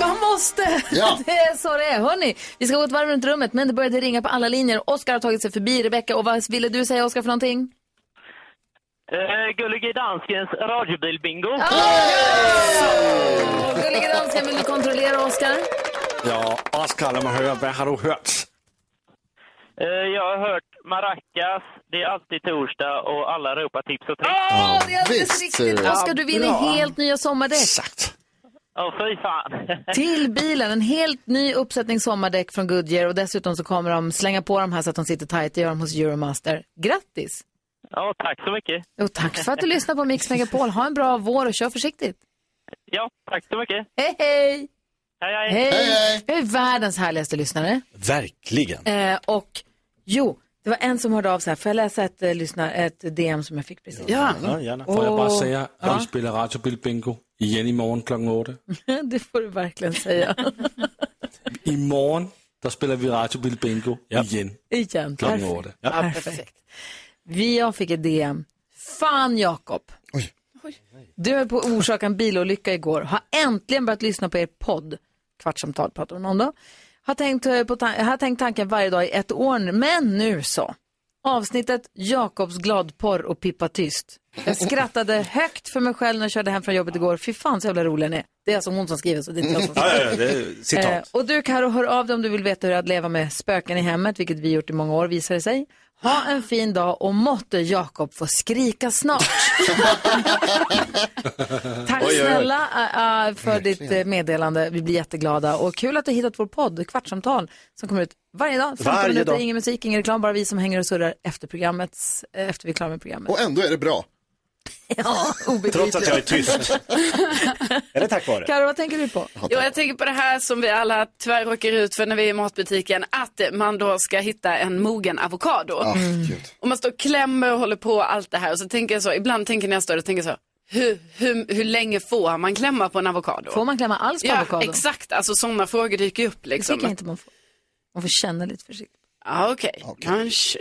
[SPEAKER 1] Man måste!
[SPEAKER 16] Ja.
[SPEAKER 1] <laughs> Det är så det är. Hörrni, vi ska gå ett varv runt rummet, men det började ringa på alla linjer. Oskar har tagit sig förbi Rebecca. Och vad ville du säga, Oskar, för någonting?
[SPEAKER 18] Eh, Gullige Danskens radiobilbingo.
[SPEAKER 1] Gullige dansken, vill du kontrollera Oskar?
[SPEAKER 14] Ja, Oskar, lad mig høre, hvad har du hørt?
[SPEAKER 18] Eh, jag har hört Maracas, det är alltid torsdag och alla ropar tips och tricks.
[SPEAKER 1] Ja, eh. det är alldeles riktigt. Oskar, du vinner helt nya sommardäck.
[SPEAKER 18] Ja, fy fan.
[SPEAKER 1] Till bilen, en helt ny uppsättning sommardäck från Goodyear och dessutom så kommer de slänga på dem här så att de sitter tajt. Det gör de hos Euromaster. Grattis!
[SPEAKER 18] Ja, tack så mycket.
[SPEAKER 1] <laughs> Och tack för att du lyssnar på Mix Megapol. Ha en bra vår och kör försiktigt.
[SPEAKER 18] Ja, tack så mycket.
[SPEAKER 1] Hej, hej!
[SPEAKER 18] Hej,
[SPEAKER 1] Hej! Vi är världens härligaste lyssnare.
[SPEAKER 9] Verkligen.
[SPEAKER 1] Eh, och jo, det var en som hörde av sig. här. Får jag läsa ett, eh, lyssna, ett DM som jag fick precis?
[SPEAKER 12] Ah.
[SPEAKER 14] Ja, Får jeg bare sige, at vi spiller radiobil bingo igen i morgen kl. 8.
[SPEAKER 1] <laughs> det får du verkligen säga.
[SPEAKER 14] I morgen, der spiller vi radiobil bingo igen
[SPEAKER 1] Igen.
[SPEAKER 14] kl.
[SPEAKER 1] Perfekt.
[SPEAKER 14] 8.
[SPEAKER 1] Perfekt. Vi, jag fick ett DM. Fan Jakob. Du är på orsaka en bilolycka igår. Har äntligen börjat lyssna på er podd. Kvartsamtal pratar hon om då. Har tänkt, eh, på tan- har tänkt tanken varje dag i ett år nu. Men nu så. Avsnittet Jakobs gladporr och Pippa tyst. Jag skrattade högt för mig själv när jag körde hem från jobbet igår. Fy fan så jävla rolig ni är. Det är alltså hon som skriver så det är inte jag som
[SPEAKER 9] Ja,
[SPEAKER 1] skriver.
[SPEAKER 9] ja, ja, det är
[SPEAKER 1] Eh,
[SPEAKER 9] citat.
[SPEAKER 1] och du Karo, hör av dig om du vill veta hur det är att leva med spöken i hemmet, vilket vi gjort i många år visar det sig. Ha en fin dag och måtte Jakob få
[SPEAKER 4] <laughs>
[SPEAKER 1] skrika snart.
[SPEAKER 9] <laughs>
[SPEAKER 1] Tack snälla eh, eh, för ditt eh, meddelande. Vi blir jätteglada och kul att du har hittat vår podd, Kvartsamtal, som kommer ut varje dag. 15
[SPEAKER 4] Varje
[SPEAKER 1] minuter,
[SPEAKER 4] dag.
[SPEAKER 1] ingen musik, ingen reklam, bara vi som hänger och surrar efter programmets, eh, efter vi är klara med programmet.
[SPEAKER 4] Och ändå är det bra.
[SPEAKER 1] <laughs> Ja,
[SPEAKER 9] Trots att jag är
[SPEAKER 1] <laughs>
[SPEAKER 9] tyst. är det tack vare?
[SPEAKER 1] vad tänker du på?
[SPEAKER 6] Jo, jag tänker på det här som vi alla tyvärr råkar ut för när vi är i matbutiken. Att man då ska hitta en mogen avokado.
[SPEAKER 4] Ah,
[SPEAKER 1] Mm.
[SPEAKER 6] Och man står och klämmer och håller på och allt det här. Och så tänker jag så, ibland tänker när jag står och tänker så. Hur, hur, hur länge får man klämma på en avokado?
[SPEAKER 1] Får man klämma alls på
[SPEAKER 6] ja,
[SPEAKER 1] avokado?
[SPEAKER 6] Exakt, alltså sådana frågor dyker upp
[SPEAKER 1] Det
[SPEAKER 6] liksom.
[SPEAKER 1] tycker jag inte man får. Man får känna lite försiktigt.
[SPEAKER 6] Ja, okej. Kanske.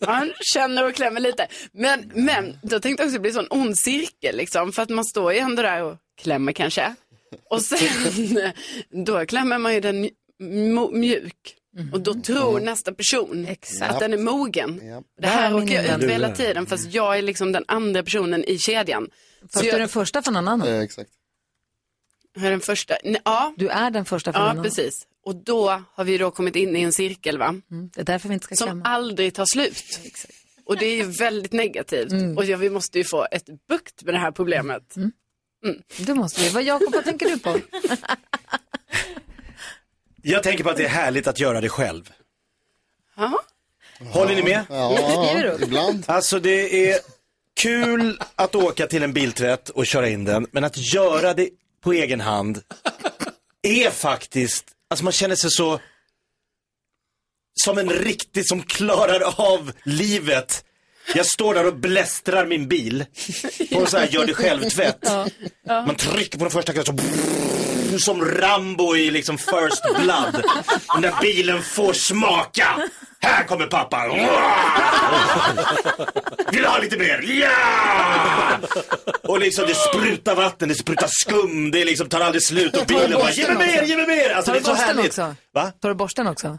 [SPEAKER 6] Man känner och klämmer lite. Men, men då tänkte jag också bli sån ond cirkel liksom. För att man står ju ändå där och klämmer <laughs> kanske. Och sen då klämmer man ju den mj- mo- mjuk. Och
[SPEAKER 1] Mm.
[SPEAKER 6] då tror nästa person att den är mogen. Det här
[SPEAKER 1] Där är
[SPEAKER 6] åker jag
[SPEAKER 1] min
[SPEAKER 6] ut för hela
[SPEAKER 1] invändning.
[SPEAKER 6] tiden fast jag är liksom den andra personen i kedjan.
[SPEAKER 1] Fast du är den första för någon annan.
[SPEAKER 4] Ja, exakt.
[SPEAKER 6] Jag är den första. Nej, Ja.
[SPEAKER 1] Du är den första för någon
[SPEAKER 6] Ja,
[SPEAKER 1] annan.
[SPEAKER 6] precis. Och då har vi då kommit in i en cirkel va?
[SPEAKER 1] Mm. Det är därför vi inte ska
[SPEAKER 6] Som
[SPEAKER 1] klämma.
[SPEAKER 6] aldrig tar slut. Och det är ju väldigt negativt.
[SPEAKER 1] Mm.
[SPEAKER 6] Och ja, vi måste ju få ett bukt med det här problemet. Mm.
[SPEAKER 1] Det måste vi. Vad, Mm. Jakob, vad tänker
[SPEAKER 4] <laughs>
[SPEAKER 1] du på?
[SPEAKER 9] Jag tänker på att det är härligt att göra det själv.
[SPEAKER 6] Jaha.
[SPEAKER 9] Håller ni med?
[SPEAKER 4] Ja, Skriver du upp? ibland.
[SPEAKER 9] Alltså det är kul att åka till en biltvätt och köra in den, men att göra det på egen hand är faktiskt, alltså man känner sig så som en riktig som klarar av livet. Jag står där och blästrar min bil på en sån här gör det själv-tvätt. Man trycker på den första knappen så som Rambo i liksom First Blood. När bilen får smaka. Här kommer pappa. Vill du ha lite mer? Ja! Och liksom det sprutar vatten, det sprutar skum, det liksom tar aldrig slut och bilen bara ge mig mer, ge mig mer. Alltså det
[SPEAKER 1] Tar
[SPEAKER 9] är
[SPEAKER 1] du
[SPEAKER 9] så
[SPEAKER 1] borsten
[SPEAKER 9] härligt.
[SPEAKER 1] också?
[SPEAKER 9] Va?
[SPEAKER 1] Tar du borsten också?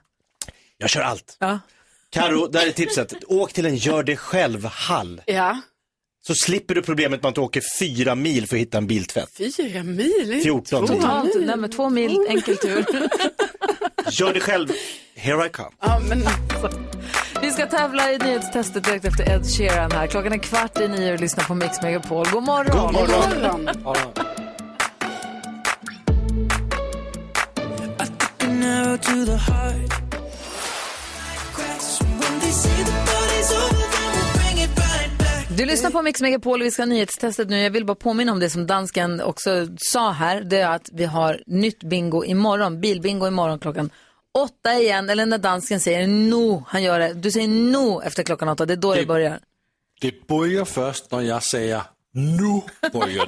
[SPEAKER 9] Jag kör allt.
[SPEAKER 1] Ja.
[SPEAKER 9] Karo, där är tipset. Åk till en gör det själv-hall.
[SPEAKER 6] Ja.
[SPEAKER 9] Så slipper du problemet med att du åker fyra mil för att hitta en biltvätt.
[SPEAKER 6] Fyra mil? inte
[SPEAKER 9] 14
[SPEAKER 6] två.
[SPEAKER 9] mil.
[SPEAKER 1] Totalt, nej men två mil, enkel tur.
[SPEAKER 9] Gör det själv, here I come.
[SPEAKER 6] <laughs> Ja, men... alltså.
[SPEAKER 1] Vi ska tävla i nyhetstestet direkt efter Ed Sheeran här. Klockan är kvart i nio och lyssnar på Mix Megapol. God
[SPEAKER 3] God
[SPEAKER 1] morgon!
[SPEAKER 3] morgon.
[SPEAKER 13] An arrow to the heart. Cracks when they say the party's over, then we'll bring it right back.
[SPEAKER 1] Du lyssnar på Mix Megapol och vi ska ha nyhetstestet nu. Jag vill bara påminna om det som dansken också sa här. Det är att vi har nytt bingo imorgon, bilbingo imorgon klockan åtta igen. Eller när dansken säger no, han gör det. Du säger no efter klockan åtta, det är då det börjar.
[SPEAKER 14] Det börjar först när jag säger nu börjar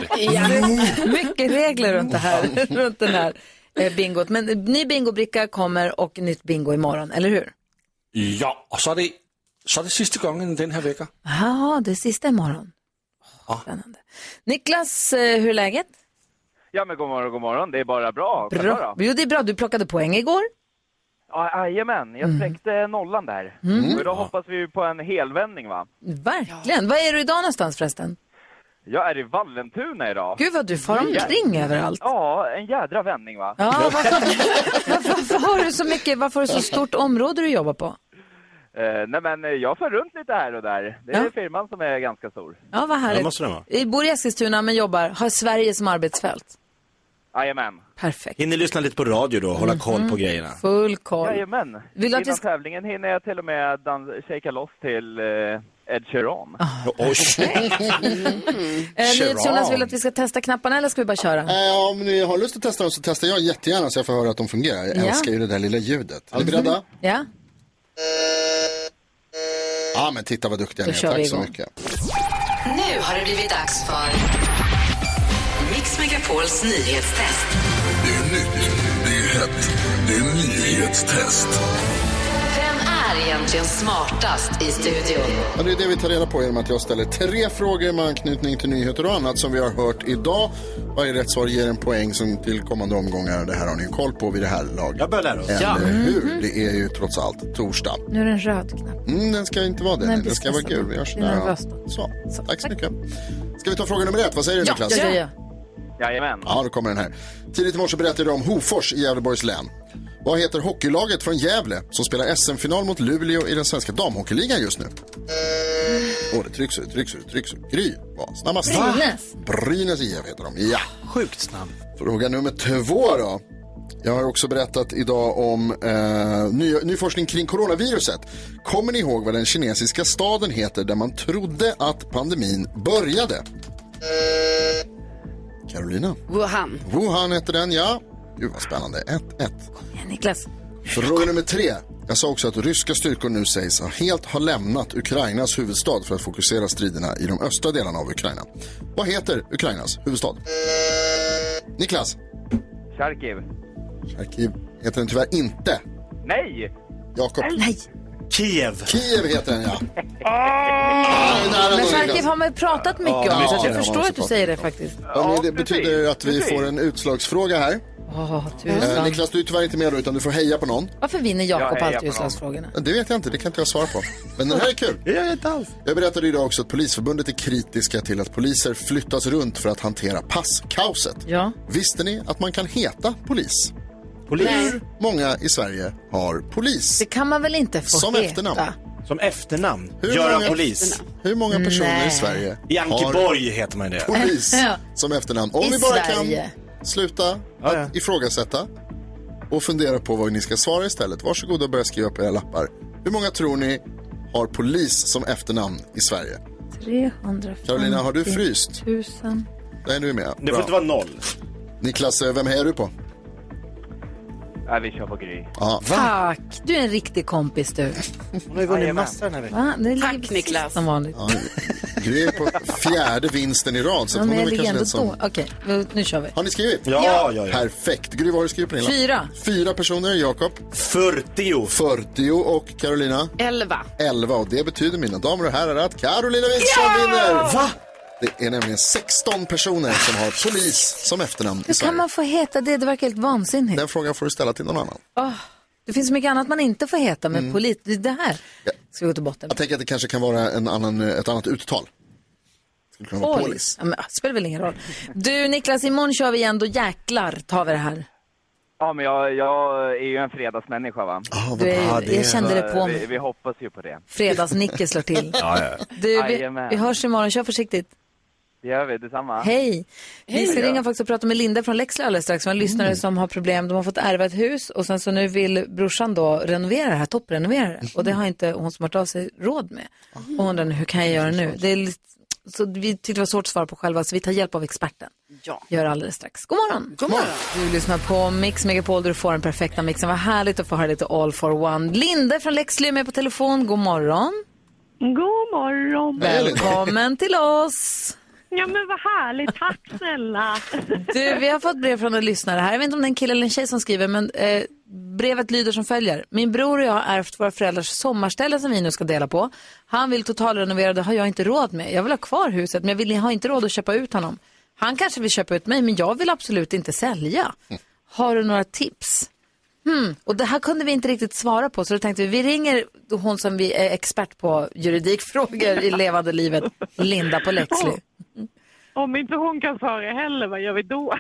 [SPEAKER 1] <laughs>
[SPEAKER 14] det.
[SPEAKER 1] Mycket regler runt, det här, <laughs> runt den här eh, bingot. Men eh, ny bingobricka kommer och nytt bingo imorgon, eller hur?
[SPEAKER 14] Ja, och så är det, så är det sista gången den här veckan.
[SPEAKER 1] Ja, det är sista imorgon.
[SPEAKER 14] Ja.
[SPEAKER 1] Niklas, eh, hur är läget?
[SPEAKER 16] Ja men god morgon, god morgon. Det är bara bra. Själva
[SPEAKER 1] Bra.
[SPEAKER 16] då?
[SPEAKER 1] Jo, det är bra. Du plockade poäng igår.
[SPEAKER 16] Ja, Jajamän, jag spräckte nollan där.
[SPEAKER 1] Mm.
[SPEAKER 16] Och idag hoppas vi på en helvändning va?
[SPEAKER 1] Verkligen. Var är du idag någonstans förresten?
[SPEAKER 16] Jag är i Vallentuna idag.
[SPEAKER 1] Gud, vad du far
[SPEAKER 16] En jä-
[SPEAKER 1] omkring överallt.
[SPEAKER 16] Ja, en jädra vändning va?
[SPEAKER 1] Ja, varför, varför, varför har du så mycket, varför har du så stort område du jobbar på?
[SPEAKER 16] Eh, nej men eh, jag för runt lite här och där. Det är
[SPEAKER 1] Ja.
[SPEAKER 16] firman som är ganska stor.
[SPEAKER 1] Ja, vad härligt.
[SPEAKER 16] Ja, måste det vara.
[SPEAKER 1] Jag bor i Eskilstuna men jobbar, har Sverige som arbetsfält.
[SPEAKER 16] Jajamän.
[SPEAKER 1] Perfekt.
[SPEAKER 9] Hinner lyssna lite på radio då och hålla koll på grejerna.
[SPEAKER 1] Full koll.
[SPEAKER 16] Jajamän.
[SPEAKER 1] Vill du
[SPEAKER 16] Innan
[SPEAKER 1] att vi ska-
[SPEAKER 16] tävlingen hinner jag till och med dans- shaka loss till eh, Ed Sheeran.
[SPEAKER 1] Ah.
[SPEAKER 9] Oj!
[SPEAKER 1] Mm. Eh,
[SPEAKER 4] Sheeran.
[SPEAKER 1] Jonas vill att vi ska testa knapparna eller ska vi bara köra?
[SPEAKER 4] Eh, om ni har lust att testa dem så testar jag jättegärna så jag får höra att de fungerar. Jag
[SPEAKER 1] Ja.
[SPEAKER 4] älskar ju det där lilla ljudet. Är ni beredda?
[SPEAKER 1] Ja,
[SPEAKER 4] Ja, men titta vad duktiga
[SPEAKER 1] Då
[SPEAKER 4] ni är.
[SPEAKER 1] kör vi
[SPEAKER 4] Tack så
[SPEAKER 1] igång.
[SPEAKER 4] mycket.
[SPEAKER 2] Nu har det blivit dags för Mix Megapols nyhetstest.
[SPEAKER 19] Det är nytt, det är hett, det är nyhetstest.
[SPEAKER 2] Vem är egentligen smartast i studion?
[SPEAKER 4] Ja, det är det vi tar reda på genom att jag ställer tre frågor med anknytning till nyheter och annat som vi har hört idag. Varje rätt svar ger en poäng som till kommande omgångar. Det här har ni ju koll på vid det här laget. Jag
[SPEAKER 9] börjar lära oss.
[SPEAKER 4] Eller
[SPEAKER 1] Ja. Mm.
[SPEAKER 4] hur? Det är ju trots allt torsdag.
[SPEAKER 1] nu är den röd knapp.
[SPEAKER 4] Mm, den ska inte vara det.
[SPEAKER 1] Nej,
[SPEAKER 4] Nej, den ska vara
[SPEAKER 1] precis.
[SPEAKER 4] gul. Vi gör
[SPEAKER 1] Det är
[SPEAKER 4] sådär.
[SPEAKER 1] nervöst.
[SPEAKER 4] Så. så, tack så mycket. Ska vi ta fråga nummer ett? Vad säger du
[SPEAKER 1] Ja,
[SPEAKER 4] Niklas?
[SPEAKER 1] ja, ja.
[SPEAKER 16] Jajamän.
[SPEAKER 4] Ja, då kommer den här. Tidigt i morse berättade jag om Hofors i Gävleborgs län. Vad heter hockeylaget från Gävle som spelar SM-final mot Luleå i den svenska damhockeyligan just nu? Åh, det trycks och det trycks och det trycks. och Gry var snabbast.
[SPEAKER 3] Brynäs.
[SPEAKER 4] Brynäs IF heter de, ja.
[SPEAKER 9] Sjukt snabb.
[SPEAKER 4] Fråga nummer två då. Jag har också berättat idag om eh, ny, ny forskning kring coronaviruset. Kommer ni ihåg vad den kinesiska staden heter där man trodde att pandemin började? Carolina?
[SPEAKER 6] Wuhan.
[SPEAKER 4] Wuhan hette den, ja. Gud vad spännande. 1-1.
[SPEAKER 1] Niklas.
[SPEAKER 4] Fråga nummer tre. Jag sa också att ryska styrkor nu sägs ha helt ha lämnat Ukrainas huvudstad för att fokusera striderna i de östra delarna av Ukraina. Vad heter Ukrainas huvudstad? Niklas?
[SPEAKER 16] Charkiv.
[SPEAKER 4] Charkiv heter den tyvärr inte.
[SPEAKER 16] Nej!
[SPEAKER 4] Jakob?
[SPEAKER 1] Nej.
[SPEAKER 9] Kiev.
[SPEAKER 4] Kiev heter den, ja.
[SPEAKER 1] Men Charkiv har man ju pratat mycket
[SPEAKER 4] Ja,
[SPEAKER 1] om så att jag
[SPEAKER 4] det har
[SPEAKER 1] förstår
[SPEAKER 4] man
[SPEAKER 1] att du
[SPEAKER 4] såklart.
[SPEAKER 1] säger det faktiskt.
[SPEAKER 4] Ja, men det betyder att vi får en utslagsfråga här.
[SPEAKER 1] Åh,
[SPEAKER 4] Eh,
[SPEAKER 1] tusan.
[SPEAKER 4] Niklas, du är tyvärr inte med då, utan du får heja på någon.
[SPEAKER 1] Varför vinner
[SPEAKER 4] Jag
[SPEAKER 1] Jakob
[SPEAKER 4] hejar
[SPEAKER 1] alltid
[SPEAKER 4] på
[SPEAKER 1] utslagsfrågorna?
[SPEAKER 4] Det vet jag inte, det kan inte jag svara på. Men den här är kul.
[SPEAKER 9] <laughs> Jag inte alls.
[SPEAKER 4] Jag berättade idag också att Polisförbundet är kritiska till att poliser flyttas runt för att hantera passkaoset.
[SPEAKER 1] Ja.
[SPEAKER 4] Visste ni att man kan heta polis?
[SPEAKER 9] Polis?
[SPEAKER 4] Hur många i Sverige har polis?
[SPEAKER 1] Det kan man väl inte få
[SPEAKER 4] Som
[SPEAKER 1] heta?
[SPEAKER 4] efternamn.
[SPEAKER 9] Som efternamn?
[SPEAKER 4] Hur
[SPEAKER 9] Göran
[SPEAKER 4] många-
[SPEAKER 9] Polis?
[SPEAKER 4] Hur många personer
[SPEAKER 1] Nej.
[SPEAKER 4] i Sverige
[SPEAKER 9] I Ankeborg heter man det.
[SPEAKER 4] Polis
[SPEAKER 1] <laughs> Ja.
[SPEAKER 4] som efternamn. Om
[SPEAKER 1] I
[SPEAKER 4] vi bara
[SPEAKER 1] Sverige.
[SPEAKER 4] kan sluta att ifrågasätta och fundera på vad ni ska svara istället. Varsågoda och börja skriva på era lappar. Hur många tror ni har polis som efternamn i Sverige?
[SPEAKER 1] 350
[SPEAKER 4] Carolina, har du fryst?
[SPEAKER 1] 000.
[SPEAKER 4] Nej, du är med.
[SPEAKER 9] Det får inte vara noll.
[SPEAKER 4] Niklas, eh, vem hejar du på?
[SPEAKER 16] Nej, äh, vi kör på Gry.
[SPEAKER 4] Ja.
[SPEAKER 1] Tack, du är en riktig kompis du.
[SPEAKER 9] Hon har ju vunnit massa den här veckan.
[SPEAKER 1] Va? Det Tack Niklas. Som vanligt.
[SPEAKER 4] Ja, Gry är på fjärde vinsten i rad. Så
[SPEAKER 1] Ja,
[SPEAKER 4] hon
[SPEAKER 1] men
[SPEAKER 4] är
[SPEAKER 1] jag
[SPEAKER 4] väl
[SPEAKER 1] ligger
[SPEAKER 4] kanske
[SPEAKER 1] ändå
[SPEAKER 4] den som...
[SPEAKER 1] då. Okej, nu- nu kör vi.
[SPEAKER 4] Har ni skrivit?
[SPEAKER 1] Ja, Ja.
[SPEAKER 9] ja, ja.
[SPEAKER 4] Perfekt. Gry, vad har du skrivit på din lapp?
[SPEAKER 1] Fyra.
[SPEAKER 4] Fyra personer, Jakob.
[SPEAKER 9] 40.
[SPEAKER 4] 40 och Carolina?
[SPEAKER 6] 11.
[SPEAKER 4] 11 och det betyder mina damer och herrar att Carolina Wickström
[SPEAKER 1] Ja!
[SPEAKER 4] vinner! Va? Det är nämligen 16 personer som har polis som efternamn i
[SPEAKER 1] Hur kan
[SPEAKER 4] Sverige.
[SPEAKER 1] man få heta det? Det verkar helt vansinnigt.
[SPEAKER 4] Den frågan får du ställa till någon annan.
[SPEAKER 1] Åh, det finns så mycket annat man inte får heta, men
[SPEAKER 4] Mm.
[SPEAKER 1] polit, det är det här. Ska vi gå till botten?
[SPEAKER 4] Jag tänker att det kanske kan vara en annan, ett annat uttal. Skulle kunna vara polis.
[SPEAKER 1] Ja, men, det spelar väl ingen roll. Du Niklas, imorgon kör vi igen, då jäklar tar vi det här.
[SPEAKER 16] Ja, men jag, jag är ju en fredagsmänniska, va?
[SPEAKER 1] Du är ju- bra det. jag kände det på
[SPEAKER 16] Så
[SPEAKER 1] mig.
[SPEAKER 16] Vi, vi hoppas ju på det.
[SPEAKER 1] Fredagsnicke slår till.
[SPEAKER 16] Ja, ja.
[SPEAKER 1] Du, vi,
[SPEAKER 16] Jajamän.
[SPEAKER 1] vi hörs imorgon, kör försiktigt.
[SPEAKER 16] Det gör vi, detsamma.
[SPEAKER 1] Hej! Mm. Vi
[SPEAKER 16] Hej.
[SPEAKER 1] ska
[SPEAKER 16] Ja.
[SPEAKER 1] ringa faktiskt och prata med Linda från Lexlö alldeles strax. Vi har en lyssnare som har problem. De har fått ärva ett hus och sen så nu vill brorsan då renovera det här, topprenovera det. Och det har inte hon som har tagit av sig råd med. Och hon undrar nu, hur kan jag göra nu? Det är lite, så vi tyckte det var svårt att svara på själva så vi tar hjälp av experten.
[SPEAKER 6] Ja.
[SPEAKER 1] Gör alldeles strax. God morgon! God morgon! Du lyssnar på Mix Megapol där du får den perfekta mixen. Vad härligt att få höra lite all for one. Linda från Lexlö är med på telefon. God morgon!
[SPEAKER 8] God morgon!
[SPEAKER 1] Välkommen till oss!
[SPEAKER 8] Ja men vad härligt, tack snälla!
[SPEAKER 1] Du, vi har fått brev från en lyssnare här. Jag vet inte om det är en kille eller en tjej som skriver, men eh, brevet lyder som följer. Min bror och jag har ärvt våra föräldrars sommarställe som vi nu ska dela på. Han vill totalrenovera, det har jag inte råd med. Jag vill ha kvar huset, men jag vill, har inte råd att köpa ut honom. Han kanske vill köpa ut mig, men jag vill absolut inte sälja. Har du några tips? Hmm. Och det här kunde vi inte riktigt svara på, så då tänkte vi, vi ringer hon som vi är expert på juridikfrågor i levande livet, Linda på Lexley.
[SPEAKER 8] Om inte hon kan svara heller, vad gör vi då?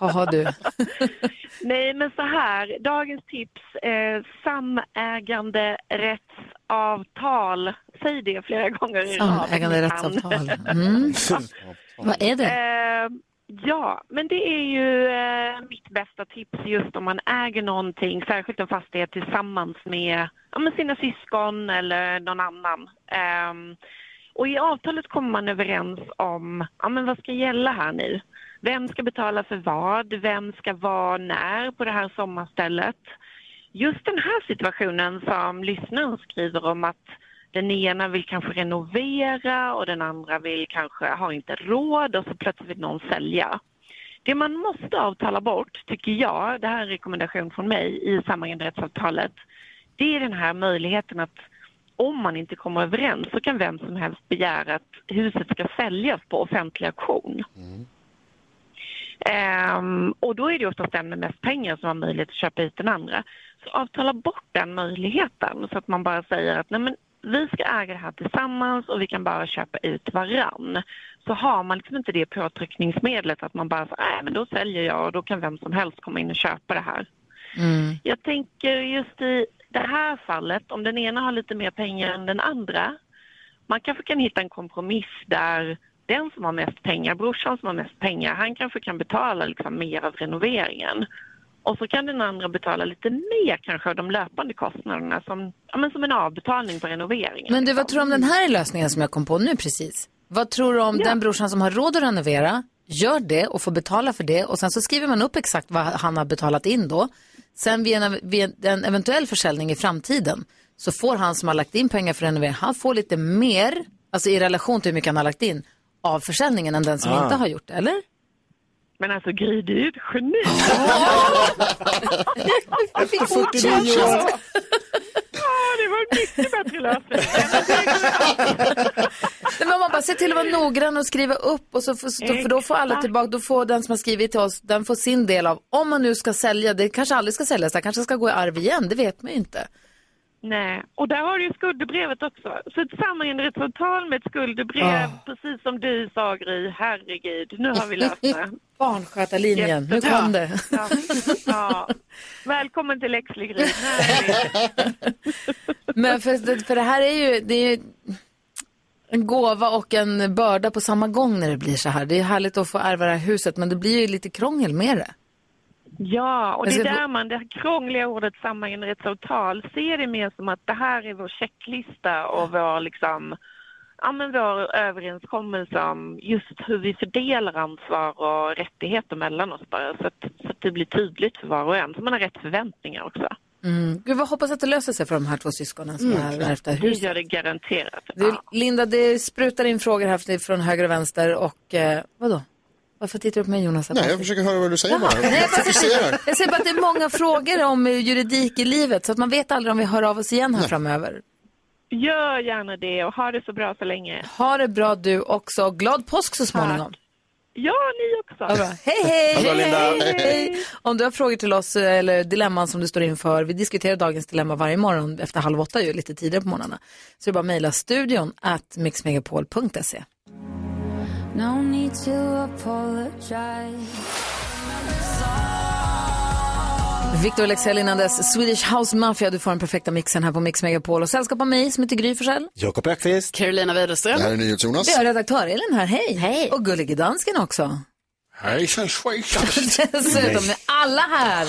[SPEAKER 1] Jaha du.
[SPEAKER 8] Nej men så här, dagens tips, eh, samäganderättsavtal. Säg det flera gånger i rad.
[SPEAKER 18] <laughs>
[SPEAKER 1] Samäganderättsavtal. Mm. Vad är det?
[SPEAKER 8] Eh, ja, men det är ju eh, mitt bästa tips just om man äger någonting, särskilt en fastighet tillsammans med, ja, med sina syskon eller någon annan. Ehm, och i avtalet kommer man överens om ja, men vad ska gälla här nu. Vem ska betala för vad? Vem ska vara när på det här sommarstället? Just den här situationen som lyssnaren skriver om att den ena vill kanske renovera och den andra vill kanske har inte råd och så plötsligt vill någon sälja. Det man måste avtala bort, tycker jag, det här är en rekommendation från mig i samäganderättsavtalet, det är den här möjligheten att om man inte kommer överens så kan vem som helst begära att huset ska säljas på offentlig auktion. Ehm, och då är det oftast den med mest pengar som har möjlighet att köpa hit den andra. Så avtala bort den möjligheten så att man bara säger att nej men, vi ska äga det här tillsammans och vi kan bara köpa ut varann. Så har man liksom inte det påtryckningsmedlet att man bara säger nej men då säljer jag och då kan vem som helst komma in och köpa det här.
[SPEAKER 13] Mm.
[SPEAKER 8] Jag tänker just i det här fallet, om den ena har lite mer pengar än den andra, man kanske kan hitta en kompromiss där den som har mest pengar, brorsan som har mest pengar, han kanske kan betala liksom mer av renoveringen. Och så kan den andra betala lite mer kanske av de löpande kostnaderna som, ja, men som en avbetalning på renoveringen.
[SPEAKER 1] Men du, vad tror du om den här lösningen som jag kom på nu precis? Vad tror du om den brorsan som har råd att renovera, gör det och får betala för det och sen så skriver man upp exakt vad han har betalat in då. Sen vid en, vid en eventuell försäljning i framtiden så får han som har lagt in pengar för renovering, han får lite mer, alltså i relation till hur mycket han har lagt in, av försäljningen än den som
[SPEAKER 8] Ah.
[SPEAKER 1] inte har gjort det, eller?
[SPEAKER 8] Men alltså Gry, du är ju ett geni!
[SPEAKER 1] Efter 49 år.
[SPEAKER 8] Ja, det var en mycket bättre lösning.
[SPEAKER 1] Nej, men om man bara se till att vara noggrann och skriva upp och så får, så, för då får alla tillbaka, då får den som har skrivit till oss, den får sin del av, om man nu ska sälja, det kanske aldrig ska säljas, det kanske ska gå i arv igen, det vet man ju inte.
[SPEAKER 8] Nej, och där har du ju skuldebrevet också. Så ett samhällsavtal med ett skuldebrev,
[SPEAKER 1] Ah.
[SPEAKER 8] precis som du sa Gry, herregud, nu
[SPEAKER 1] <laughs>
[SPEAKER 8] har vi löst <laughs> det.
[SPEAKER 1] Barnskötarlinjen, nu kom det. <laughs>
[SPEAKER 8] Ja, ja. Välkommen till Lexley Gry.
[SPEAKER 1] Men för, för det här är ju, det är ju en gåva och en börda på samma gång när det blir så här. Det är ju härligt att få ärva det här huset, men det blir ju lite krångel med det. Alltså,
[SPEAKER 8] Ja, och det är
[SPEAKER 1] Jag ska-
[SPEAKER 8] där man, det här krångliga ordet sammangenrättsavtal, ser det mer som att det här är vår checklista och vår, liksom, ja, men vår överenskommelse om just hur vi fördelar ansvar och rättigheter mellan oss bara, så att, så att det blir tydligt för var och en, så man har rätt förväntningar också.
[SPEAKER 1] Mm. Gud, vad hoppas att det löser sig för de här två syskonen som
[SPEAKER 4] Mm.
[SPEAKER 1] har ärvt det här
[SPEAKER 8] Det
[SPEAKER 1] Mm, huset.
[SPEAKER 8] gör det garanterat.
[SPEAKER 1] Du, Linda, det sprutar in frågor här från höger och vänster och eh, vadå? Varför tittar du på mig Jonas?
[SPEAKER 4] Nej, jag försöker höra vad du säger bara.
[SPEAKER 1] Nej,
[SPEAKER 4] Jag
[SPEAKER 1] jag, bara
[SPEAKER 4] fokuserar.
[SPEAKER 1] säger, jag säger bara att det är många frågor om eh, juridik i livet så att man vet aldrig om vi hör av oss igen här framöver.
[SPEAKER 8] Gör gärna det och ha det så bra så länge.
[SPEAKER 1] Ha det bra du också. Glad påsk så småningom.
[SPEAKER 8] Ja, ni också.
[SPEAKER 1] Ja, bra. Hej, hej!
[SPEAKER 8] Ha det bra, Linda.
[SPEAKER 1] Hej, hej! Om du har frågor till oss eh, eller dilemman som du står inför, vi diskuterar dagens dilemma varje morgon efter halv åtta, ju, lite tidigare på morgnarna. Så det är bara att mejla studion at mixmegapol.se.
[SPEAKER 13] No need to apologize.
[SPEAKER 1] Victor Lexell innan dess, Swedish House Mafia, du får den perfekta mixen här på Mix Megapol. Och sällskap av mig som heter Gry Forssell.
[SPEAKER 9] Jakob Ekqvist.
[SPEAKER 6] Carolina Widerström.
[SPEAKER 4] Det här är NyhetsJonas.
[SPEAKER 1] Vi har redaktör Elin här, hej. hej. Och gullige dansken också.
[SPEAKER 14] Hejsan svejsan.
[SPEAKER 1] <laughs> Dessutom är alla här.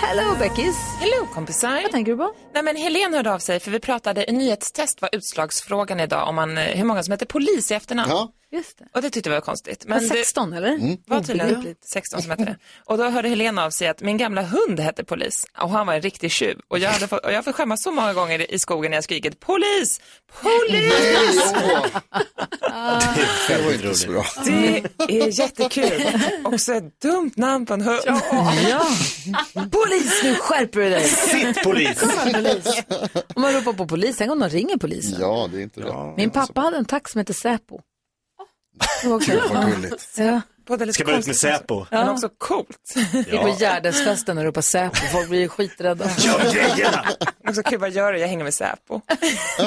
[SPEAKER 1] Hello Beckis!
[SPEAKER 17] Hello kompisar! Vad
[SPEAKER 1] tänker du på?
[SPEAKER 17] Nej men Helen hörde av sig för vi pratade, i nyhetstest var utslagsfrågan idag om man, eh, hur många som heter polis i efternamn.
[SPEAKER 4] Ja,
[SPEAKER 1] just det.
[SPEAKER 17] Och det tyckte vi var konstigt.
[SPEAKER 1] Var 16 eller? Mm.
[SPEAKER 17] var tydligen
[SPEAKER 1] Obegripligt.
[SPEAKER 17] 16 som hette det. Och då hörde Helen av sig att min gamla hund hette polis och han var en riktig tjuv. Och jag hade fått, och jag har fått skämmas så många gånger i- i skogen när jag skrikit polis,
[SPEAKER 3] <laughs>
[SPEAKER 17] polis!
[SPEAKER 4] det var inte så bra.
[SPEAKER 17] Det är jättekul. Också ett dumt namn på en hund.
[SPEAKER 1] Ja. Polis, nu skärper du dig!
[SPEAKER 9] Sitt polis.
[SPEAKER 1] Kom, polis. Om man ropar på polis, tänk om någon ringer polisen.
[SPEAKER 4] Ja, det är inte rätt.
[SPEAKER 1] Min pappa hade en tax som hette Säpo. Det var också-
[SPEAKER 4] Gud, vad gulligt.
[SPEAKER 1] Ja.
[SPEAKER 17] Både
[SPEAKER 9] Ska bara ut med
[SPEAKER 1] alltså.
[SPEAKER 9] Säpo.
[SPEAKER 17] Men också coolt.
[SPEAKER 1] Gick på Gärdesfesten och ropade Säpo. Folk blir ju skiträdda.
[SPEAKER 17] Också kul, vad gör du? Jag hänger med Säpo.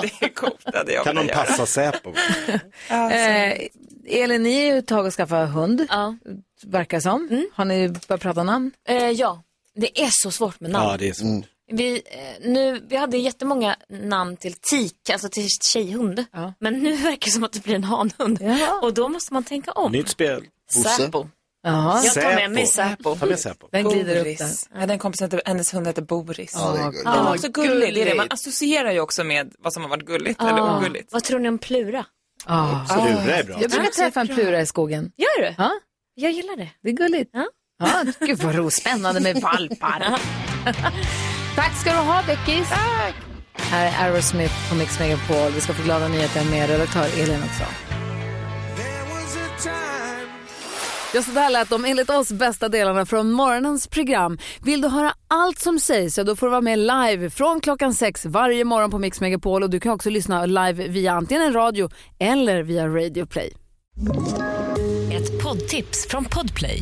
[SPEAKER 17] Det är coolt. Det hade jag
[SPEAKER 9] Kan de
[SPEAKER 17] velat göra.
[SPEAKER 9] passa Säpo?
[SPEAKER 1] Eh, Elin, ni är ju ett tag och skaffa hund, verkar som. Har ni börjat prata namn?
[SPEAKER 5] Eh, ja, det är så svårt med namn.
[SPEAKER 9] det är
[SPEAKER 4] Mm.
[SPEAKER 9] så.
[SPEAKER 5] Vi, eh, nu, vi hade jättemånga namn till tik, alltså till tjejhund. Men nu verkar det som att det blir en hanhund. Och då måste man tänka om.
[SPEAKER 9] Nytt spel.
[SPEAKER 5] Säpo.
[SPEAKER 1] Jaha.
[SPEAKER 5] Jag tar med mig Säpo.
[SPEAKER 9] Ta med Säpo.
[SPEAKER 1] Den glider upp där.
[SPEAKER 17] Boris. Jag hade en kompis, som hette- hennes hund hette Boris.
[SPEAKER 1] Ja, det är
[SPEAKER 17] den
[SPEAKER 1] gulligt.
[SPEAKER 17] var också
[SPEAKER 1] Ja,
[SPEAKER 17] gullig. Det är det. Man
[SPEAKER 1] gulligt.
[SPEAKER 17] associerar ju också med vad som har varit gulligt
[SPEAKER 5] Ja.
[SPEAKER 17] eller ogulligt.
[SPEAKER 5] Vad tror ni om Plura?
[SPEAKER 1] Ah.
[SPEAKER 17] Så Plura är bra.
[SPEAKER 1] Jag brukar träffa en plura i skogen.
[SPEAKER 5] Gör du?
[SPEAKER 1] Ja,
[SPEAKER 5] Jag gillar det.
[SPEAKER 1] det är gulligt. Ja. gud vad ro, spännande
[SPEAKER 6] <laughs>
[SPEAKER 1] med valpar. Tack ska du ha, Beckis. Tack. Här är Aerosmith på Mix Megapol. Vi ska få glada nyheter med redaktör Elin också. Ja, så där lät de enligt oss bästa delarna från morgonens program. Vill du höra allt som sägs så då får du vara med live från klockan sex varje morgon på Mix Megapol. Och du kan också lyssna live via antingen radio eller via Radio Play.
[SPEAKER 20] Ett poddtips från Podplay.